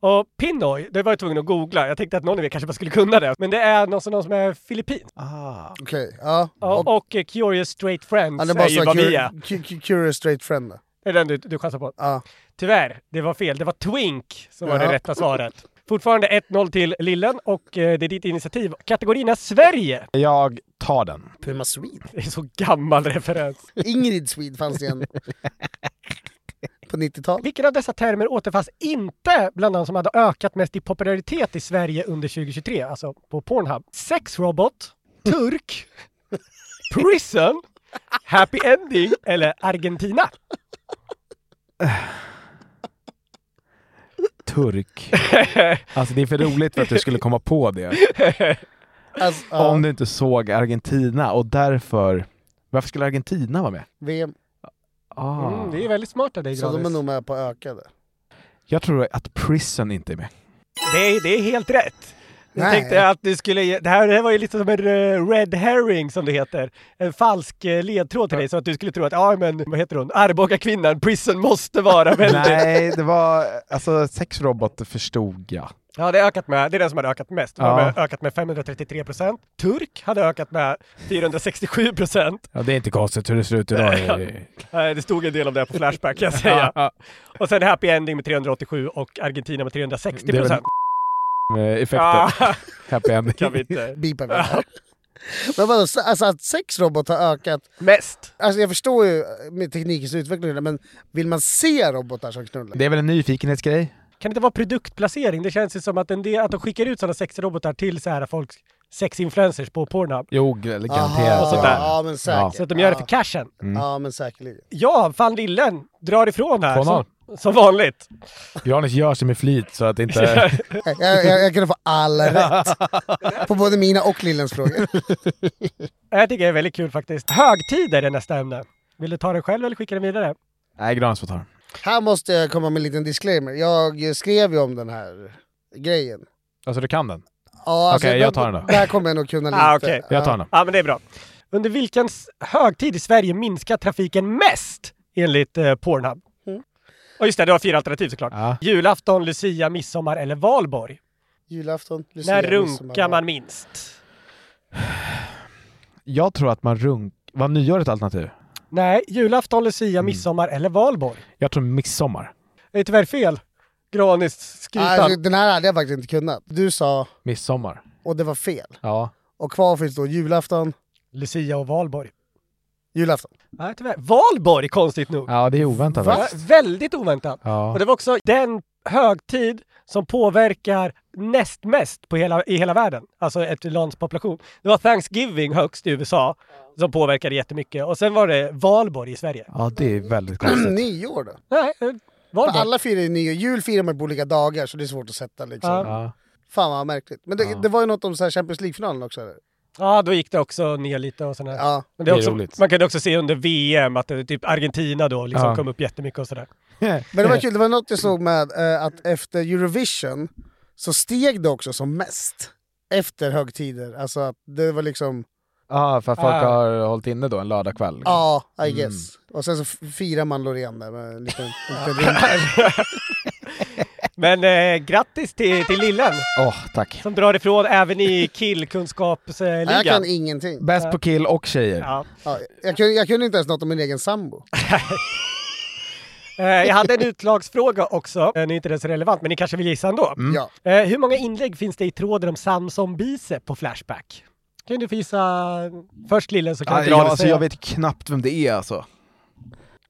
Speaker 3: Och Pinoy, det var jag tvungen att googla. Jag tänkte att någon av er kanske bara skulle kunna det. Men det är någon som, någon som är filippin.
Speaker 4: Okej. Ja.
Speaker 3: Och, och eh, Curious Straight Friends
Speaker 4: Ja, det är
Speaker 3: är
Speaker 4: bara
Speaker 3: ju
Speaker 4: så
Speaker 3: vad vi är.
Speaker 4: cur- cu- cu- curious straight friend. då.
Speaker 3: Det är den du, du chansar på.
Speaker 4: Ja.
Speaker 3: Tyvärr, det var fel. Det var twink som var det
Speaker 4: Jaha.
Speaker 3: rätta svaret. Fortfarande 1-0 till Lillen och eh, det är ditt initiativ. Kategorin är Sverige.
Speaker 2: Jag tar den.
Speaker 4: Puma Swede.
Speaker 3: Det är så gammal referens.
Speaker 4: Ingrid Swede fanns det en. På 90-talet.
Speaker 3: Vilken av dessa termer återfanns inte bland de som hade ökat mest i popularitet i Sverige under 2023? Alltså på Pornhub. Sexrobot, turk, prison, happy ending eller Argentina?
Speaker 2: Turk. Alltså det är för roligt för att du skulle komma på det.
Speaker 4: Alltså, ja.
Speaker 2: Om du inte såg Argentina och därför... Varför skulle Argentina vara med?
Speaker 4: VM.
Speaker 2: Ah.
Speaker 3: Mm, det är ju väldigt smart av dig
Speaker 4: Så de är nog
Speaker 3: Granis.
Speaker 4: med på ökade.
Speaker 2: Jag tror att Prison inte är med.
Speaker 3: Det är, det är helt rätt. Jag
Speaker 4: Nej.
Speaker 3: tänkte jag att du skulle ge, det här, det här var ju lite som en eh, red herring som det heter. En falsk eh, ledtråd till dig så att du skulle tro att, ja men vad heter hon, Arboga kvinnan, prison måste vara väldigt...
Speaker 2: Nej, det var... Alltså sexrobot förstod jag.
Speaker 3: Ja, det, har ökat med, det är den som hade ökat mest. De hade
Speaker 2: Ja.
Speaker 3: ökat med 533 procent. Turk hade ökat med 467 procent.
Speaker 2: Ja, det är inte konstigt hur det ser ut idag.
Speaker 3: Det stod en del om det här på Flashback kan jag säga. Och sen Happy Ending med 387 och Argentina med 360
Speaker 2: Det är väl
Speaker 3: procent.
Speaker 2: Med effekter.
Speaker 3: Ja,
Speaker 2: Eh, Happy ending.
Speaker 3: kan vi inte.
Speaker 4: Beepar vi. Men vadå, så- alltså att sex robot har ökat.
Speaker 3: Mest.
Speaker 4: Alltså jag förstår ju eh, med teknikens utveckling, men vill man se robotar som knullar?
Speaker 2: Det är väl en nyfikenhetsgrej?
Speaker 3: Kan det inte vara produktplacering? Det känns ju som att, en del, att de skickar ut sådana sexrobotar till så här folk, sexinfluencers på Pornhub.
Speaker 2: Jo, g-
Speaker 4: Aha,
Speaker 2: garanterat.
Speaker 4: Ja men säkert.
Speaker 3: Så att de gör det för cashen.
Speaker 4: Ja men säkerligen.
Speaker 3: Ja, fan lillen drar ifrån här.
Speaker 2: 2-0.
Speaker 3: Som, som vanligt.
Speaker 2: Granis gör sig med flit så att inte...
Speaker 4: Jag, jag, jag kunde få all rätt. På både mina och Lillens frågor.
Speaker 3: Jag tycker det är väldigt kul faktiskt. Högtider är nästa ämne. Vill du ta den själv eller skicka den vidare?
Speaker 2: Nej, Granis får ta den.
Speaker 4: Här måste jag komma med en liten disclaimer. Jag skrev ju om den här grejen.
Speaker 2: Alltså du kan den?
Speaker 4: Ja, alltså,
Speaker 2: Okej, jag tar den då.
Speaker 4: Där kommer jag nog kunna lite.
Speaker 3: Ah, okej.
Speaker 2: Jag tar den.
Speaker 3: Ja, men det är bra. Under vilken s- högtid i Sverige minskar trafiken mest enligt eh, Pornhub?
Speaker 4: Mm.
Speaker 3: Och just det, du har fyra alternativ såklart.
Speaker 2: Ja.
Speaker 3: Julafton, Lucia, midsommar eller valborg.
Speaker 4: Julafton, Lucia,
Speaker 3: När runkar
Speaker 4: midsommar.
Speaker 3: man minst?
Speaker 2: Jag tror att man runk... Var nyår ett alternativ?
Speaker 3: Nej, julafton,
Speaker 2: Mm.
Speaker 3: Lucia, midsommar eller valborg.
Speaker 2: Jag tror midsommar.
Speaker 3: Det är tyvärr fel. Granis skrytan.
Speaker 4: Alltså, den här hade jag faktiskt inte kunnat. Du sa,
Speaker 2: Midsommar.
Speaker 4: och det var fel.
Speaker 2: Ja.
Speaker 4: Och kvar finns då julafton,
Speaker 3: Lucia och valborg.
Speaker 4: julafton.
Speaker 3: Nej, tyvärr. Valborg, konstigt nog.
Speaker 2: Ja, det är oväntat.
Speaker 3: Ja, Väldigt oväntat.
Speaker 2: Ja.
Speaker 3: Och det var också den högtid som påverkar näst mest på hela, i hela världen, alltså efter landspopulation. Det var Thanksgiving högst i USA som påverkade jättemycket och sen var det valborg i Sverige.
Speaker 2: Ja, det är väldigt
Speaker 4: Nyår då?
Speaker 3: Nej, eh,
Speaker 4: För
Speaker 3: valborg.
Speaker 4: alla firar ju nyår. Jul firar man på olika dagar så det är svårt att sätta liksom.
Speaker 3: Ja.
Speaker 2: Ja.
Speaker 4: Fan vad märkligt. Men det, det var ju något om så här Champions League-finalen också eller?
Speaker 3: Ja, då gick det också ner lite och sådär.
Speaker 4: Ja.
Speaker 3: Men
Speaker 2: Det
Speaker 3: det
Speaker 2: är
Speaker 3: är också,
Speaker 2: roligt.
Speaker 3: man kunde också se under VM att det, typ Argentina då liksom
Speaker 2: Ja.
Speaker 3: kom upp jättemycket och sådär.
Speaker 4: Men det var kul, det var något jag såg med eh, att efter Eurovision så steg det också som mest. Efter högtider. Alltså att det var liksom,
Speaker 2: Ja, för att folk
Speaker 3: Ah.
Speaker 2: har hållit inne då en lördagkväll.
Speaker 4: ja,
Speaker 2: Mm.
Speaker 4: I guess. Och sen så f- firar man Loreen där med en liten, en liten ring.
Speaker 3: Men eh, grattis till, till Lillen
Speaker 2: Åh, tack.
Speaker 3: som drar ifrån även i killkunskapsligan.
Speaker 4: Nej, Jag kan ingenting.
Speaker 2: Bäst på kill och tjejer.
Speaker 3: ja.
Speaker 4: Ja, jag, kunde, jag kunde inte ens något om min egen sambo.
Speaker 3: eh, jag hade en utlagsfråga också. Eh, nu är inte den så relevant, men ni kanske vill gissa ändå.
Speaker 2: Mm.
Speaker 4: Ja.
Speaker 3: Eh, hur många inlägg finns det i tråden om Samson Bicep på Flashback? Kan du få gissa först Lillen så kan
Speaker 2: Ah,
Speaker 3: du dra
Speaker 2: ja,
Speaker 3: det
Speaker 2: alltså,
Speaker 3: sen.
Speaker 2: jag vet knappt vem det är alltså.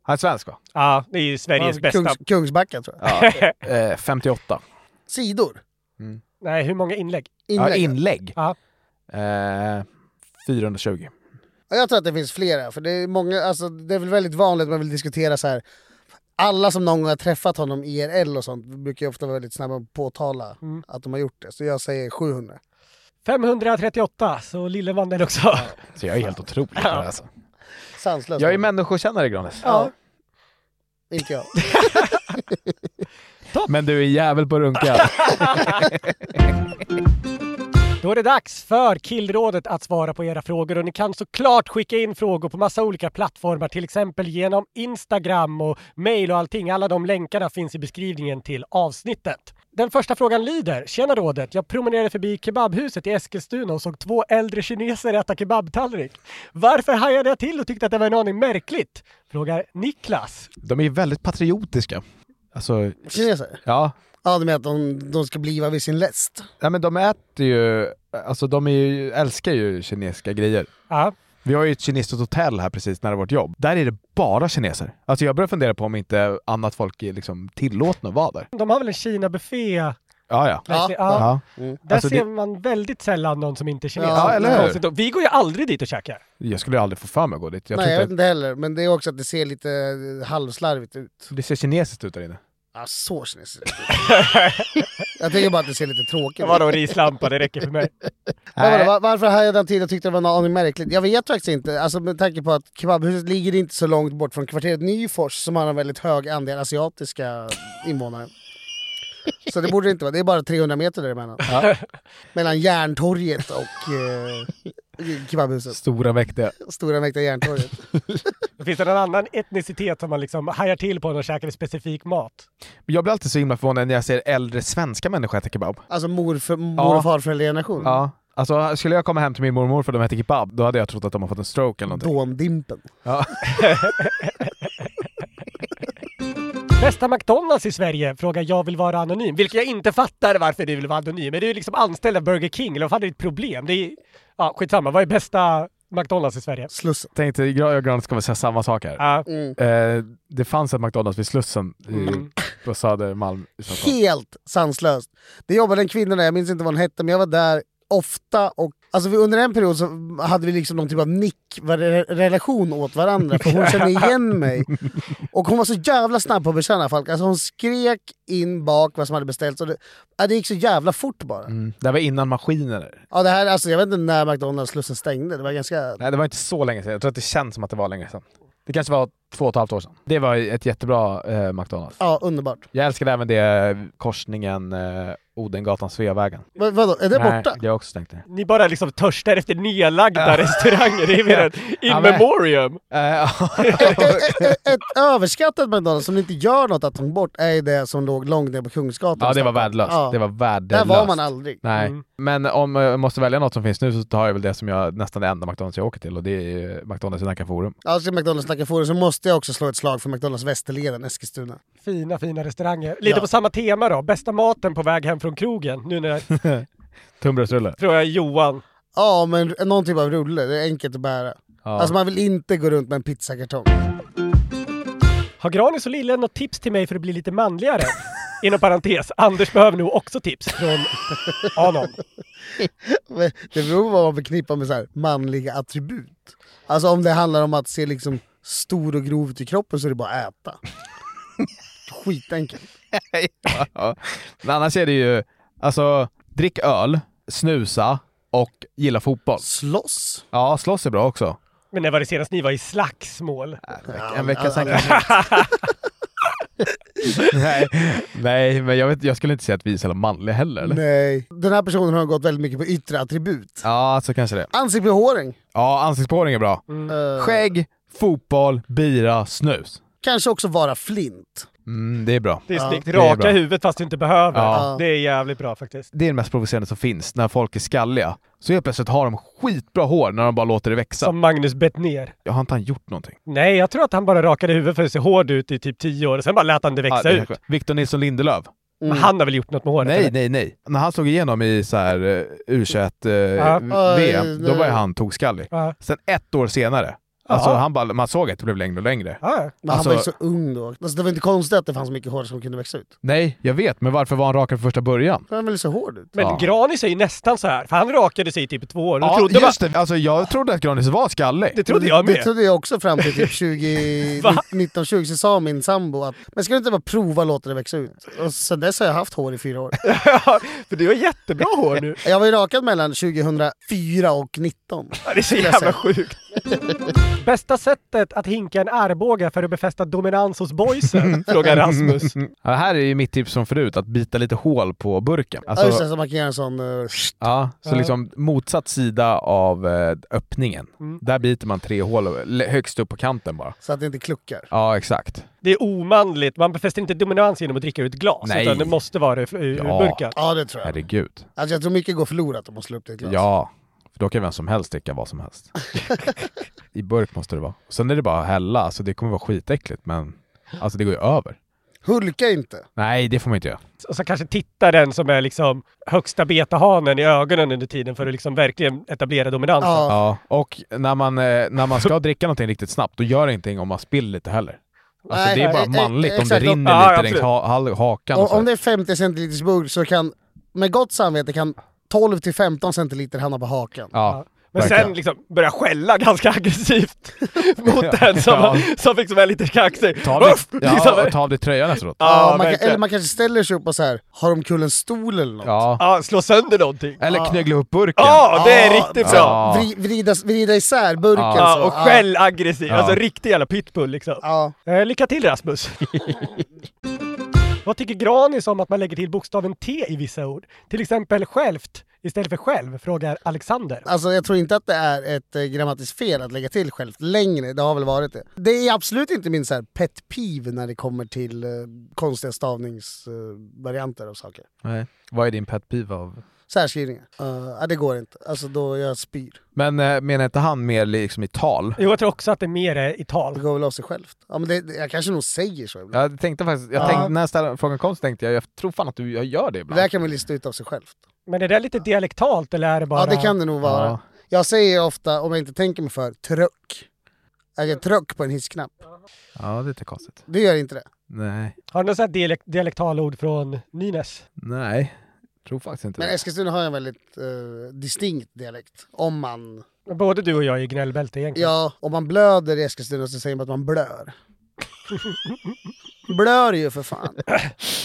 Speaker 2: Han är svensk va?
Speaker 3: Ja, det är ju Sveriges bästa.
Speaker 4: Kungs, Kungsbacka tror jag.
Speaker 2: Eh, 58.
Speaker 4: Sidor.
Speaker 3: Nej, hur många inlägg?
Speaker 4: Inlägg.
Speaker 2: Ja, inlägg.
Speaker 3: Ja.
Speaker 2: Eh, 420.
Speaker 4: Ja, Jag tror att det finns flera, för det är många, alltså det är väl väldigt vanligt att man vill diskutera så här. Alla som någon gång har träffat honom IRL och sånt brukar ju ofta vara väldigt snabba att påtala
Speaker 2: Mm.
Speaker 4: att de har gjort det. Så jag säger 700.
Speaker 3: 538, så Lillen vann den också.
Speaker 2: Så jag är helt otrolig på det här, alltså.
Speaker 4: Sanslöst.
Speaker 2: Jag är människokännare Granis.
Speaker 4: Ja. Inte jag.
Speaker 2: Men du är jävel på att runka.
Speaker 3: Då är det dags för Killrådet att svara på era frågor och ni kan såklart skicka in frågor på massa olika plattformar, till exempel genom Instagram och mail och allting. Alla de länkarna finns i beskrivningen till avsnittet. Den första frågan lyder, tjena rådet, jag promenerade förbi kebabhuset i Eskilstuna och såg två äldre kineser äta kebabtallrik. Varför hajade jag till och tyckte att det var en aning märkligt? Frågar Niklas.
Speaker 2: De är väldigt patriotiska. Alltså,
Speaker 4: Kineser?
Speaker 2: ja.
Speaker 4: Ja, du menar att de, de ska bliva vid sin läst?
Speaker 2: Nej, men de äter ju, alltså de är ju, älskar ju kinesiska grejer.
Speaker 3: Ja.
Speaker 2: Vi har ju ett kinesiskt hotell här precis nära vårt jobb. Där är det bara kineser. Alltså jag börjar fundera på om inte annat folk är liksom tillåtna att vara där.
Speaker 3: De har väl en Kina-buffé?
Speaker 2: Ja, ja.
Speaker 4: Ja.
Speaker 3: Ja. Där
Speaker 2: Alltså,
Speaker 3: ser
Speaker 2: det-
Speaker 3: man väldigt sällan någon som inte är kines.
Speaker 4: Ja,
Speaker 2: eller hur?
Speaker 3: Konstigt. Vi går ju aldrig dit och käkar.
Speaker 2: Jag skulle aldrig få för mig att gå dit. Jag
Speaker 4: Nej, jag
Speaker 2: tror
Speaker 4: vet
Speaker 2: inte,
Speaker 4: inte heller. Men det är också att det ser lite eh, halvslarvigt ut.
Speaker 2: det ser kinesiskt ut där inne.
Speaker 4: Ja, så kinesiskt ut. Jag tänker bara att det ser lite tråkigt
Speaker 3: Det
Speaker 4: ut.
Speaker 3: var en rislampa, det räcker för mig.
Speaker 4: Men vadå, var, varför hajade han till och tyckte det var en aning märkligt? Jag vet faktiskt inte. Alltså med tanke på att kebabhuset ligger inte så långt bort från kvarteret Nyfors som har en väldigt hög andel asiatiska invånare. Så det borde det inte vara. Det är bara 300 meter däremellan. Mellan Järntorget och eh, kebabhuset.
Speaker 2: Stora mäktiga.
Speaker 4: Stora mäktiga Järntorget.
Speaker 3: Finns det någon annan etnicitet som man liksom hajar till på när man käkar specifik mat?
Speaker 2: Men Jag blir alltid så himla förvånad när jag ser äldre svenska människor äta kebab.
Speaker 4: Alltså morför, mor
Speaker 2: Ja.
Speaker 4: och farföräldrageneration.
Speaker 2: Ja. Alltså skulle jag komma hem till min mormor för de äter kebab, då hade jag trott att de har fått en stroke eller någonting.
Speaker 4: Dåndimpen.
Speaker 2: Ja.
Speaker 3: Bästa McDonalds i Sverige? Frågar jag vill vara anonym. Vilket jag inte fattar varför du vill vara anonym. Men du är ju liksom anställd av Burger King, eller vad fan är ditt problem? Det är... Ja, skitsamma. Vad är bästa McDonalds i Sverige?
Speaker 4: Slussen.
Speaker 2: Tänkte jag och Granis kommer säga samma sak här.
Speaker 3: Ja.
Speaker 4: Mm.
Speaker 2: Eh, det fanns ett McDonalds vid Slussen i,
Speaker 3: Mm.
Speaker 2: på Södermalm i Stockholm.
Speaker 4: Helt sanslöst. Det jobbade en kvinna där, jag minns inte vad hon hette, men jag var där ofta och alltså vi, under en period så hade vi liksom någon typ av nick-relation åt varandra för hon kände igen mig. Och hon var så jävla snabb på att bekänna folk. Alltså hon skrek in bak vad som hade beställts och det, ja, det gick så jävla fort bara.
Speaker 2: Mm. Det här var innan maskiner.
Speaker 4: Ja, det här, alltså, jag vet inte när McDonalds Slussen stängde, det var ganska...
Speaker 2: Nej, det var inte så länge sedan. Jag tror att det känns som att det var länge sedan. Det kanske var två och ett halvt år sedan. Det var ett jättebra eh, McDonalds.
Speaker 4: Ja, underbart.
Speaker 2: Jag älskade även det korsningen eh, Odengatan-Sveavägen.
Speaker 4: Va, vadå, är det borta?
Speaker 2: Nej, det har jag också tänkt. det.
Speaker 3: Ni bara liksom törstar efter nedlagda restauranger. Det är mer en
Speaker 2: Ja,
Speaker 3: in
Speaker 2: men-
Speaker 3: memoriam.
Speaker 2: Eh, ja.
Speaker 4: Ett, ett, ett, ett överskattat McDonalds som inte gör något att ta bort är ju det som låg långt ner på Kungsgatan.
Speaker 2: ja,
Speaker 4: i
Speaker 2: det var
Speaker 4: Stockholm.
Speaker 2: värdelöst.
Speaker 4: Ja.
Speaker 2: Det var
Speaker 4: Där
Speaker 2: värdelöst.
Speaker 4: var man aldrig.
Speaker 2: Nej,
Speaker 3: Mm.
Speaker 2: men om eh, jag måste välja något som finns nu så tar jag väl det som jag nästan det enda McDonalds jag åker till och det är ju McDonalds i Nacka Forum.
Speaker 4: Alltså McDonalds snackar forum så måste jag också slå ett slag för McDonalds Västerleden, Eskilstuna.
Speaker 3: Fina, fina restauranger. Lite
Speaker 4: Ja.
Speaker 3: på samma tema då. Bästa maten på väg hem från krogen. Nu när,
Speaker 2: Tunnbrödsrulle.
Speaker 3: tror jag, Johan
Speaker 4: Ja, men någon typ av rulle. Det är enkelt att bära.
Speaker 2: Ja.
Speaker 4: Alltså man vill inte gå runt med en pizzakartong.
Speaker 3: Har Granis och Lille något tips till mig för att bli lite manligare? Inom parentes, Anders behöver nog också tips från Anon.
Speaker 4: Men Det beror på vad man förknippar med så här manliga attribut. Alltså om det handlar om att se liksom stor och grov ut i kroppen så är det bara att äta. Skitenkelt.
Speaker 2: Ja. Men annars är det ju, alltså, drick öl, snusa och gilla fotboll.
Speaker 4: Slåss?
Speaker 2: Ja, slåss är bra också.
Speaker 3: Men när var det senast ni var i slagsmål?
Speaker 2: En vecka sen kanske. nej, nej, men jag, vet, jag skulle inte säga att vi är så jävla manliga heller. Eller?
Speaker 4: Nej. Den här personen har gått väldigt mycket på yttre attribut.
Speaker 2: Ja, så kanske det.
Speaker 4: Ansiktsbehåring.
Speaker 2: Ja, ansiktsbehåring är bra.
Speaker 4: Eh,
Speaker 2: Skägg, fotboll, bira, snus.
Speaker 4: kanske också vara flint.
Speaker 2: Mm, det är bra.
Speaker 3: Det är
Speaker 4: Ja,
Speaker 3: snyggt.
Speaker 2: är bra.
Speaker 3: Raka huvudet fast du inte behöver.
Speaker 2: Ja.
Speaker 3: Det är jävligt bra faktiskt.
Speaker 2: Det är det mest provocerande som finns, när folk är skalliga. Så helt plötsligt har de skitbra hår när de bara låter det växa.
Speaker 3: Som Magnus Bettner.
Speaker 2: Jag har inte han gjort någonting.
Speaker 3: Nej, jag tror att han bara rakade huvudet för att se hård ut i typ 10 år och sen bara lät han det växa
Speaker 2: Ah, det
Speaker 3: ut.
Speaker 2: kanske- Victor Nilsson Lindelöf.
Speaker 3: Men han har väl gjort något med håret?
Speaker 2: Nej,
Speaker 3: eller?
Speaker 2: nej, nej. När han slog igenom i så här eh, U21 eh,
Speaker 3: Ja.
Speaker 2: VM, då var ju
Speaker 4: nej.
Speaker 2: han tokskallig.
Speaker 3: Ja.
Speaker 2: Sen ett år senare, alltså
Speaker 3: Ja.
Speaker 2: han bara, man såg att det blev längre och längre.
Speaker 3: Ja.
Speaker 4: Men
Speaker 2: Alltså-
Speaker 4: han var ju så ung då. Alltså, det var inte konstigt att det fanns mycket hår som kunde växa ut.
Speaker 2: Nej, jag vet, men varför var han rakad från första början?
Speaker 4: Han väl så hård ut.
Speaker 3: Men
Speaker 2: Ja.
Speaker 3: Granis är ju nästan så här, för han rakade sig i typ två år. och
Speaker 2: Ja,
Speaker 3: trodde
Speaker 2: just det. Alltså, jag trodde att Granis var skallig.
Speaker 3: Det trodde jag
Speaker 4: Det
Speaker 3: med.
Speaker 4: trodde jag också fram till typ 20,
Speaker 3: Va?
Speaker 4: 1920 så sa min sambo att men ska du inte bara prova låta det växa ut? Och sen dess har jag haft hår i fyra år.
Speaker 3: för du har jättebra hår nu.
Speaker 4: Jag var ju rakad mellan 2004 och 19.
Speaker 3: Ja, det är så
Speaker 4: Skulle jag
Speaker 3: jävla
Speaker 4: säga.
Speaker 3: sjukt. Bästa sättet att hinka en armbåge för att befästa dominans hos boysen? Mm. Frågar Rasmus.
Speaker 2: Ja, här är ju mitt tips från förut, att bita lite hål på burken.
Speaker 4: Ja just det,
Speaker 2: Alltså,
Speaker 4: så man kan göra en sån... eh, sht.
Speaker 2: ja, så
Speaker 3: Ja.
Speaker 2: liksom motsatt sida av eh, öppningen. Där biter man tre hål l- högst upp på kanten bara.
Speaker 4: så att det inte kluckar.
Speaker 2: Ja, exakt.
Speaker 3: Det är omanligt. Man befäster inte dominans genom att dricka ur ett glas.
Speaker 2: Nej.
Speaker 3: Utan det måste vara ur, ur
Speaker 2: Ja.
Speaker 3: burken.
Speaker 4: Ja det tror jag.
Speaker 2: Herregud.
Speaker 4: Alltså, jag tror mycket går förlorat om man slår upp det i ett glas.
Speaker 2: Ja, för då kan vem som helst dricka vad som helst. I burk måste det vara. Sen är det bara att hälla, så det kommer vara skitäckligt men alltså det går ju över.
Speaker 4: Hulka inte.
Speaker 2: Nej, det får man inte göra.
Speaker 3: Och så kanske tittar den som är liksom högsta betahanen i ögonen under tiden för att liksom verkligen etablera dominansen.
Speaker 4: Ja.
Speaker 2: Ja, och när man, eh, när man ska dricka någonting riktigt snabbt, då gör det ingenting om man spiller lite heller. Alltså
Speaker 4: Nej,
Speaker 2: det är bara
Speaker 4: nej,
Speaker 2: manligt om det
Speaker 4: exakt.
Speaker 2: rinner
Speaker 3: Ja,
Speaker 2: lite
Speaker 3: ja,
Speaker 2: längs ha, ha, hakan. och
Speaker 4: Och,
Speaker 2: så.
Speaker 4: om det är 50 centiliters burk så kan, med gott samvete, kan 12 till 15 centiliter hamna på hakan.
Speaker 2: Ja.
Speaker 3: Men sen
Speaker 2: verkligen.
Speaker 3: liksom börjar skälla ganska aggressivt mot den som,
Speaker 2: Ja.
Speaker 3: som liksom är lite kaxig.
Speaker 2: Ta av dig,
Speaker 3: Uff! Liksom.
Speaker 2: ja, och ta av dig tröjan efteråt.
Speaker 4: Ja,
Speaker 3: Ja,
Speaker 4: man kan,
Speaker 3: verkligen.
Speaker 4: eller man kanske ställer sig upp och så här, har de kullen stol eller något?
Speaker 2: Ja.
Speaker 3: Ja, slå sönder någonting.
Speaker 2: Eller knögla upp burken.
Speaker 3: Ja, det är riktigt bra!
Speaker 2: Ja.
Speaker 4: Vri, vrida, vrida isär burken
Speaker 3: Ja,
Speaker 4: så.
Speaker 3: och skäll aggressiv.
Speaker 2: Ja.
Speaker 3: Alltså riktig jävla pitbull liksom.
Speaker 4: Alltså, Ja.
Speaker 3: Eh, lycka till Rasmus! Vad tycker Granis om att man lägger till bokstaven T i vissa ord? Till exempel självt istället för själv, frågar Alexander.
Speaker 4: Alltså jag tror inte att det är ett eh, grammatiskt fel att lägga till själv längre, det har väl varit det. Det är absolut inte min så här pet peeve när det kommer till eh, konstiga stavningsvarianter av saker.
Speaker 2: Nej. Vad är din pet peeve av?
Speaker 4: Särskrivningar. Eh, ja, det går inte. Alltså då jag spyr.
Speaker 2: Men eh, menar inte han mer liksom i tal?
Speaker 3: Jo, jag tror också att det är mer är i
Speaker 4: Det
Speaker 3: tal.
Speaker 4: går väl av sig självt. Ja, men det, det- jag kanske nog säger så ibland.
Speaker 2: Jag tänkte faktiskt, jag
Speaker 4: Ja.
Speaker 2: tänkte, när ställ- frågan kom så tänkte jag, jag tror fan att du jag gör det
Speaker 4: Det
Speaker 2: ibland.
Speaker 4: där kan man lista ut av sig självt.
Speaker 3: Men är det lite dialektalt eller är det bara...
Speaker 4: Ja det kan det nog vara.
Speaker 2: Ja.
Speaker 4: Jag säger ofta, om jag inte tänker mig för, tröck. Jag är tröck på en hissknapp.
Speaker 2: Ja, det är lite konstigt.
Speaker 4: Det gör inte det.
Speaker 2: Nej,
Speaker 3: Har du något sånt här dialek- dialektalord från Nynäs?
Speaker 2: nej. Tror faktiskt inte
Speaker 4: Men
Speaker 2: det.
Speaker 4: Eskilstuna har en väldigt eh, distinkt dialekt. Om man,
Speaker 3: Både du och jag är gnällbälte egentligen.
Speaker 4: ja, om man blöder i Eskilstuna så säger man att man blör. blör ju för fan.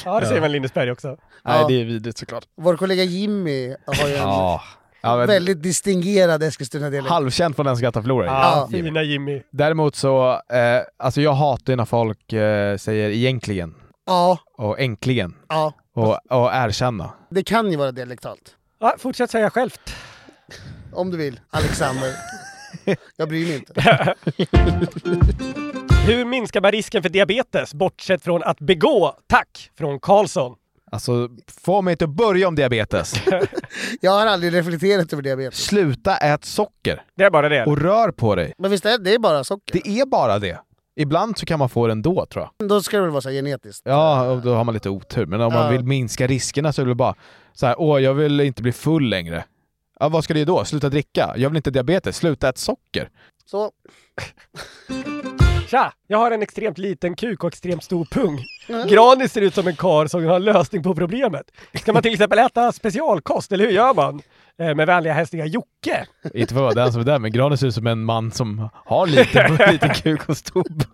Speaker 3: Ja, det säger man i Lindesberg också.
Speaker 2: Nej, det är vidrigt såklart.
Speaker 4: Vår kollega Jimmy har ju en
Speaker 2: Ja. ja men,
Speaker 4: väldigt distingerad Eskilstuna-dialekt.
Speaker 2: halvkänt från den som skrattar förlorar.
Speaker 3: Ja,
Speaker 2: Jimmy.
Speaker 3: fina Jimmy.
Speaker 2: Däremot så, eh, alltså jag hatar ju när folk eh, säger egentligen
Speaker 4: Ja,
Speaker 2: och äntligen
Speaker 4: ja.
Speaker 2: och, och erkänna.
Speaker 4: Det kan ju vara dialektalt.
Speaker 3: Ja, fortsätt säga självt.
Speaker 4: Om du vill, Alexander. Jag bryr mig inte.
Speaker 3: Hur minskar man risken för diabetes bortsett från att begå? Tack! Från Karlsson.
Speaker 2: Alltså, få mig inte att börja om diabetes.
Speaker 4: Jag har aldrig reflekterat över diabetes.
Speaker 2: Sluta ät socker
Speaker 3: Det är bara det.
Speaker 2: och rör på dig.
Speaker 4: Men visst är det bara socker?
Speaker 2: Det är bara det. Ibland så kan man få det ändå tror jag.
Speaker 4: Då ska det väl vara så här genetiskt?
Speaker 2: Ja, och då har man lite otur. Men om man
Speaker 4: Ja.
Speaker 2: vill minska riskerna så är det bara så här, åh, jag vill inte bli full längre. Ja, vad ska det då? Sluta dricka? Jag vill inte ha diabetes. Sluta äta socker.
Speaker 4: Så.
Speaker 3: Tja! Jag har en extremt liten kuk och extremt stor pung. Granis ser ut som en karl som har en lösning på problemet. Ska man till exempel äta specialkost, eller hur gör man? Eh, Med vänliga hälsningar Jocke.
Speaker 2: Inte för att vara den som är där, men Granen ser ut som en man som har lite, lite kuk och stubb.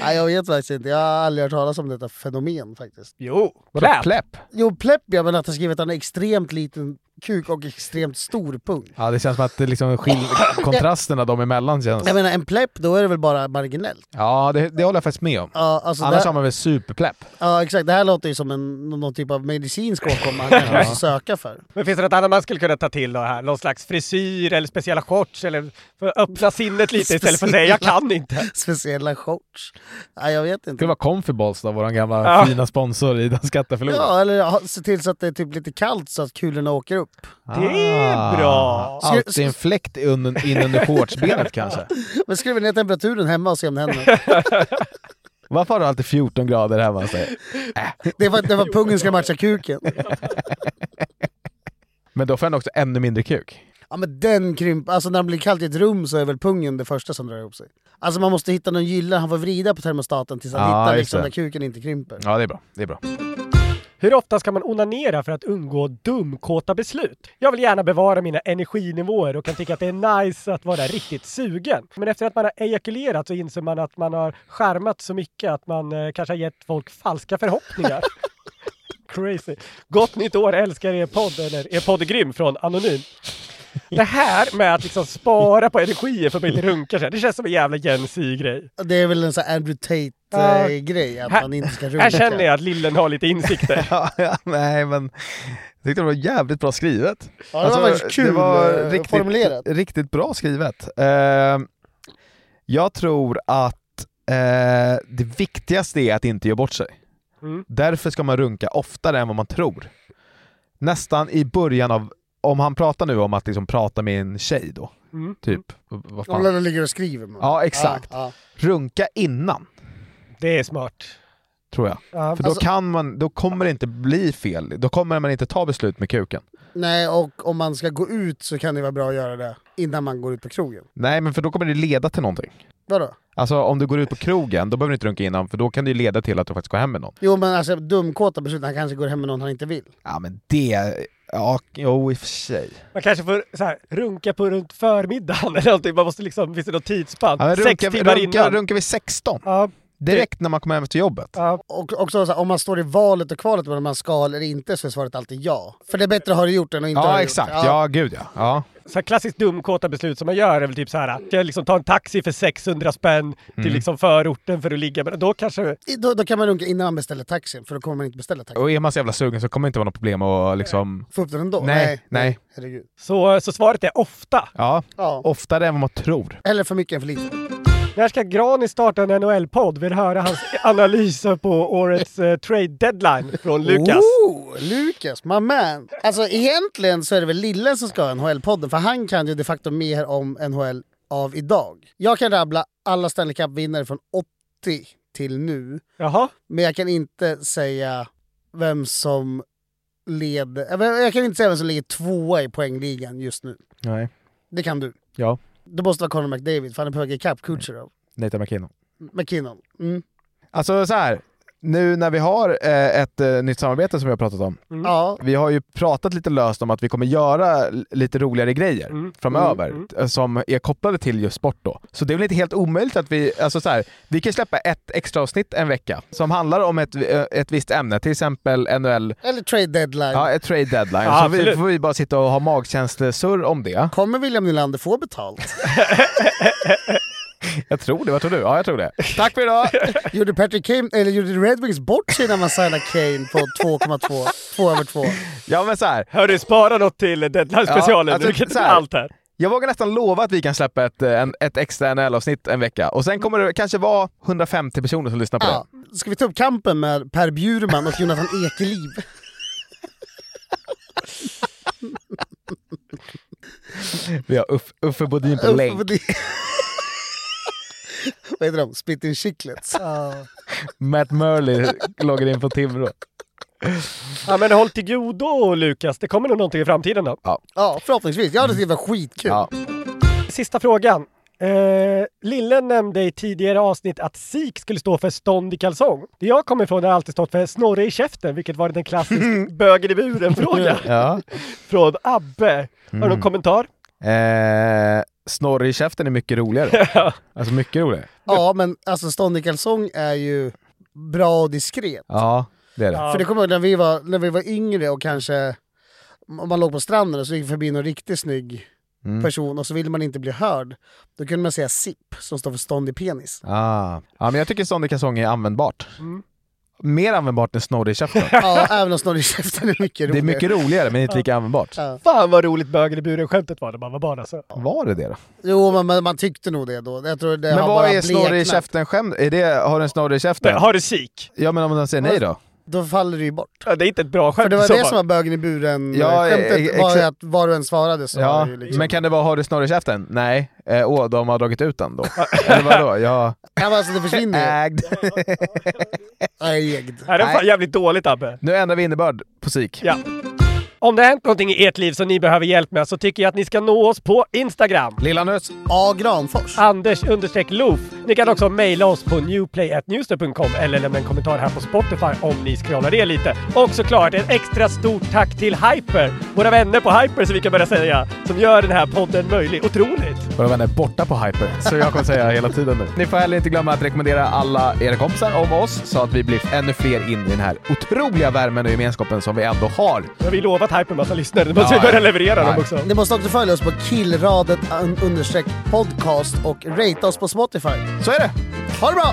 Speaker 4: Nej, jag vet faktiskt inte. Jag har aldrig hört talas om detta fenomen faktiskt.
Speaker 3: Jo,
Speaker 2: Vadå,
Speaker 3: kläpp.
Speaker 2: Pläpp?
Speaker 4: Jo, plepp ja, men att han skrivit att han har extremt liten kuk och extremt stor pung.
Speaker 2: Ja, det känns som att det liksom skil- kontrasterna dem emellan känns...
Speaker 4: Jag menar, en plepp, då är det väl bara marginellt?
Speaker 2: Ja, det, det håller jag faktiskt med om.
Speaker 4: Ja, alltså
Speaker 2: Annars
Speaker 4: det,
Speaker 2: har man väl superpläpp?
Speaker 4: ja, exakt. Det här låter ju som en, någon typ av medicinsk åkomma han kanske måste söka för.
Speaker 3: Men finns det något annat man skulle kunna ta till då här? Någon slags frisyr eller speciella shorts eller för att öppna sinnet lite istället för att säga jag kan inte.
Speaker 4: Speciella shorts. Nej, jag vet
Speaker 2: Det
Speaker 4: inte.
Speaker 2: var Comfyballs då, vår gamla
Speaker 3: Ja.
Speaker 2: fina sponsor i Den skatteförloraren.
Speaker 4: Ja, eller ha- se till så att det är typ lite kallt så att kulorna åker upp.
Speaker 3: Det är bra.
Speaker 2: Ah. Alltid en fläkt in, in under shortsbenet kanske.
Speaker 4: Men skriver ner temperaturen hemma och se om det händer.
Speaker 2: Varför har du alltid 14 grader hemma hos dig?
Speaker 4: Det var, det var pungen ska matcha kuken.
Speaker 2: Men då får han också ännu mindre kuk.
Speaker 4: Ja men den krymper, alltså när det blir kallt i ett rum så är väl pungen det första som drar ihop sig. Alltså man måste hitta någon gylla, han får vrida på termostaten tills han
Speaker 2: Ja,
Speaker 4: hittar
Speaker 2: just
Speaker 4: liksom
Speaker 2: det.
Speaker 4: där kuken inte krymper.
Speaker 2: Ja, det är bra. Det är bra.
Speaker 3: Hur ofta ska man onanera för att undgå dumkåta beslut? Jag vill gärna bevara mina energinivåer och kan tycka att det är nice att vara riktigt sugen. Men efter att man har ejakulerat så inser man att man har skärmat så mycket att man eh, kanske har gett folk falska förhoppningar. Crazy. Gott nytt år älskar er podd, eller er podd är grym från Anonym. Det här med att liksom spara på energier för att man inte runkar sig, det känns som en jävla Jensi-grej.
Speaker 4: Det är väl en sån här Andrew
Speaker 3: Ja.
Speaker 4: Tate-grej, att
Speaker 3: Här-
Speaker 4: man inte ska runka.
Speaker 3: Här känner jag att Lillen har lite insikter.
Speaker 2: Ja, ja, nej men... Jag tyckte det var jävligt bra skrivet.
Speaker 4: Ja, det var faktiskt kul
Speaker 2: Alltså, det var
Speaker 4: eh, formulerat.
Speaker 2: Riktigt bra skrivet. Eh, jag tror att eh, det viktigaste är att inte göra bort sig.
Speaker 3: Mm.
Speaker 2: Därför ska man runka oftare än vad man tror. Nästan i början av, om han pratar nu om att liksom prata med en tjej då,
Speaker 3: Mm.
Speaker 2: typ. Vad
Speaker 4: Om
Speaker 2: fan?
Speaker 4: den ligger och skriver. Man.
Speaker 2: Ja, exakt.
Speaker 4: Ja,
Speaker 2: Runka innan,
Speaker 3: Det är smart.
Speaker 2: tror jag.
Speaker 3: Ja.
Speaker 2: För
Speaker 4: Alltså-
Speaker 2: då, kan man, då kommer det inte bli fel. Då kommer man inte ta beslut med kuken.
Speaker 4: ja. Nej, och om man ska gå ut så kan det vara bra att göra det innan man går ut på krogen.
Speaker 2: Nej, men för då kommer det leda till någonting.
Speaker 4: Vadå?
Speaker 2: Alltså om du går ut på krogen, då behöver du inte runka innan för då kan det ju leda till att du faktiskt går hem med någon.
Speaker 4: Jo men alltså dumkåta beslut, han kanske går hem med någon han inte vill.
Speaker 2: Ja men det... Ja, jo i och för sig.
Speaker 3: Man kanske får så här, runka på runt förmiddagen eller någonting. Man måste liksom, finns det något tidsspann?
Speaker 2: Ja, men
Speaker 3: Sex
Speaker 2: runka,
Speaker 3: timmar
Speaker 2: runka,
Speaker 3: innan.
Speaker 2: runka vid 16,
Speaker 3: Ja,
Speaker 2: direkt när man kommer hem efter jobbet.
Speaker 3: ja.
Speaker 4: Och också så här, om man står i valet och kvalet mellan om man ska eller inte så är svaret alltid ja. För det är bättre att ha det gjort än att inte ha
Speaker 2: Ja
Speaker 4: det
Speaker 2: exakt,
Speaker 4: gjort.
Speaker 2: ja gud ja. ja.
Speaker 3: Så här klassiskt dumkåta beslut som man gör är väl typ så här. Ska jag liksom ta en taxi för 600 spänn
Speaker 2: Mm.
Speaker 3: till liksom förorten för att ligga med Då kanske...
Speaker 4: I- Då, då kan man runka innan man beställer taxin, för då kommer man inte beställa taxin.
Speaker 2: Och är man så jävla sugen så kommer det inte vara något problem att liksom...
Speaker 4: Få upp den ändå?
Speaker 2: Nej, nej.
Speaker 4: Herregud.
Speaker 3: Så, så svaret är ofta.
Speaker 2: Ja,
Speaker 4: Ja.
Speaker 2: oftare än vad man tror.
Speaker 4: Eller för mycket än för lite.
Speaker 3: När ska Grani starta en NHL-podd? Vill höra hans analyser på årets eh, trade deadline från Lukas.
Speaker 4: Oh, Lukas, my man! Alltså egentligen så är det väl Lillen som ska ha NHL-podden, för han kan ju de facto mer om NHL av idag. Jag kan rabbla alla Stanley Cup-vinnare från 80 till nu,
Speaker 3: Jaha.
Speaker 4: men jag kan inte säga vem som leder... jag vet- Jag kan inte säga vem som ligger tvåa i poängligan just nu.
Speaker 2: Nej.
Speaker 4: Det kan du.
Speaker 2: Ja.
Speaker 4: Det måste vara Conor McDavid, för han är på väg ikapp Kucherov.
Speaker 2: Nathan McKinnon.
Speaker 4: McKinnon. Mm.
Speaker 2: Alltså så här. nu när vi har eh, ett eh, nytt samarbete som vi har pratat om.
Speaker 4: Ja,
Speaker 2: Vi har ju pratat lite löst om att vi kommer göra l- lite roligare grejer framöver eh, som är kopplade till just sport då. Så det är väl inte helt omöjligt att vi, alltså så här, vi kan släppa ett extra avsnitt en vecka som handlar om ett, eh, ett visst ämne, till exempel NHL,
Speaker 4: Eller trade deadline.
Speaker 2: ja, ett trade deadline.
Speaker 3: Ja,
Speaker 2: så vi
Speaker 3: absolut.
Speaker 2: får vi bara sitta och ha magkänslesurr om det.
Speaker 4: Kommer William Nylander få betalt?
Speaker 2: Jag tror det, vad tror du? Ja, jag tror det. Tack för idag!
Speaker 4: gjorde Patrick Kane, eller gjorde Red Wings bort sig när man signade Kane på 2,2? 2 över 2.
Speaker 2: Ja men så här,
Speaker 3: Hörru, spara något till deadline-specialen.
Speaker 2: Ja, alltså,
Speaker 3: du kan
Speaker 2: så
Speaker 3: inte
Speaker 2: här.
Speaker 3: allt här.
Speaker 2: Jag vågar nästan lova att vi kan släppa ett, eh, en, ett extra NHL-avsnitt en vecka och sen kommer det kanske vara 150 personer som lyssnar på
Speaker 4: Ja.
Speaker 2: det.
Speaker 4: Ska vi ta upp kampen med Per Bjurman och Jonathan Ekeliv?
Speaker 2: Vi har Uff, Uffe Bodin på
Speaker 4: Upp på
Speaker 2: länk,
Speaker 4: det. Vad heter de? Spitting Chicklets?
Speaker 2: Matt Murley loggar in på Timrå.
Speaker 3: Ja, men håll till godo, Lukas. Det kommer nog någonting i framtiden då.
Speaker 4: Ja, förhoppningsvis. Jag hade tyckt det var skitkul.
Speaker 2: Ja.
Speaker 3: Sista frågan. Eh, Lille nämnde i tidigare avsnitt att SIK skulle stå för stånd i kalsong. Det jag kommer ifrån har alltid stått för snorre i käften, vilket var en klassisk bögen i buren-fråga
Speaker 2: Ja.
Speaker 3: från Abbe. Har
Speaker 4: Mm.
Speaker 3: du någon kommentar?
Speaker 2: Eh, Snorre i käften är mycket roligare. alltså mycket roligare.
Speaker 4: Ja, men alltså stånd i kalsong är ju bra och diskret.
Speaker 2: Ja, det är det.
Speaker 3: Ja.
Speaker 4: För det kommer jag ihåg när vi var, när vi var yngre och kanske om man låg på stranden och så gick förbi någon riktigt snygg
Speaker 2: Mm.
Speaker 4: person och så ville man inte bli hörd. Då kunde man säga SIP som står för stånd i penis.
Speaker 2: Ah. Ja, men jag tycker stånd i kalsong är användbart.
Speaker 4: Mm.
Speaker 2: Mer användbart än snorre i käften.
Speaker 4: Ja, även om snorre i käften är mycket roligare.
Speaker 2: det är mycket roligare men inte lika användbart.
Speaker 3: Fan vad roligt bögen i buren-skämtet var när man var barn alltså.
Speaker 2: Var det det då?
Speaker 4: Jo, men man, man tyckte nog det då. Jag tror det
Speaker 2: Men
Speaker 4: har
Speaker 2: vad
Speaker 4: bara
Speaker 2: är snorre i
Speaker 4: bleknat.
Speaker 2: käften skämt? Är det, har du en snorre i käften?
Speaker 3: Men, har du SIK?
Speaker 2: Ja men om den säger nej då?
Speaker 4: Då faller det ju bort.
Speaker 3: Ja, det är inte ett bra
Speaker 4: För
Speaker 3: skämt
Speaker 4: det
Speaker 3: i
Speaker 4: var
Speaker 3: så
Speaker 4: det
Speaker 3: fall.
Speaker 4: som var bögen i buren
Speaker 2: Ja,
Speaker 4: ja, skämtet,
Speaker 2: eh,
Speaker 4: var ju
Speaker 2: exakt.
Speaker 4: att var du än svarade så var
Speaker 2: Ja,
Speaker 4: det ju liksom...
Speaker 2: men kan det vara har du snorre i käften? Nej. Eh, åh, de har dragit ut den då. Eller vadå? Ja.
Speaker 4: Ja, men alltså det försvinner ju.
Speaker 2: Ägd.
Speaker 4: Nej, ägd.
Speaker 3: Nej, det var fan jävligt dåligt Abbe.
Speaker 2: nu ändrar vi innebörd på SIK.
Speaker 3: Ja. Om det har hänt någonting i ert liv som ni behöver hjälp med så tycker jag att ni ska nå oss på Instagram.
Speaker 2: Lilla Nös.
Speaker 4: A. Granfors.
Speaker 3: Anders understreck Loof. Ni kan också mejla oss på newplay.newster.com eller lämna en kommentar här på Spotify om ni scrollar ner lite. Och såklart ett extra stort tack till Hyper, våra vänner på Hyper som vi kan börja säga, som gör den här podden möjlig. Otroligt!
Speaker 2: Våra vänner är borta på Hyper, så jag kommer säga hela tiden nu. Ni får heller inte glömma att rekommendera alla era kompisar om oss så att vi blir ännu fler in i den här otroliga värmen och gemenskapen som vi ändå har.
Speaker 3: Nu har vi lovat Hyper en massa lyssnare, nu måste
Speaker 2: Ja,
Speaker 3: vi börja
Speaker 2: ja.
Speaker 3: leverera dem
Speaker 2: Ja.
Speaker 3: också.
Speaker 4: Ni måste också följa oss på killradet un- understreck podcast och rate oss på Spotify.
Speaker 2: Så är det!
Speaker 4: Ha det bra!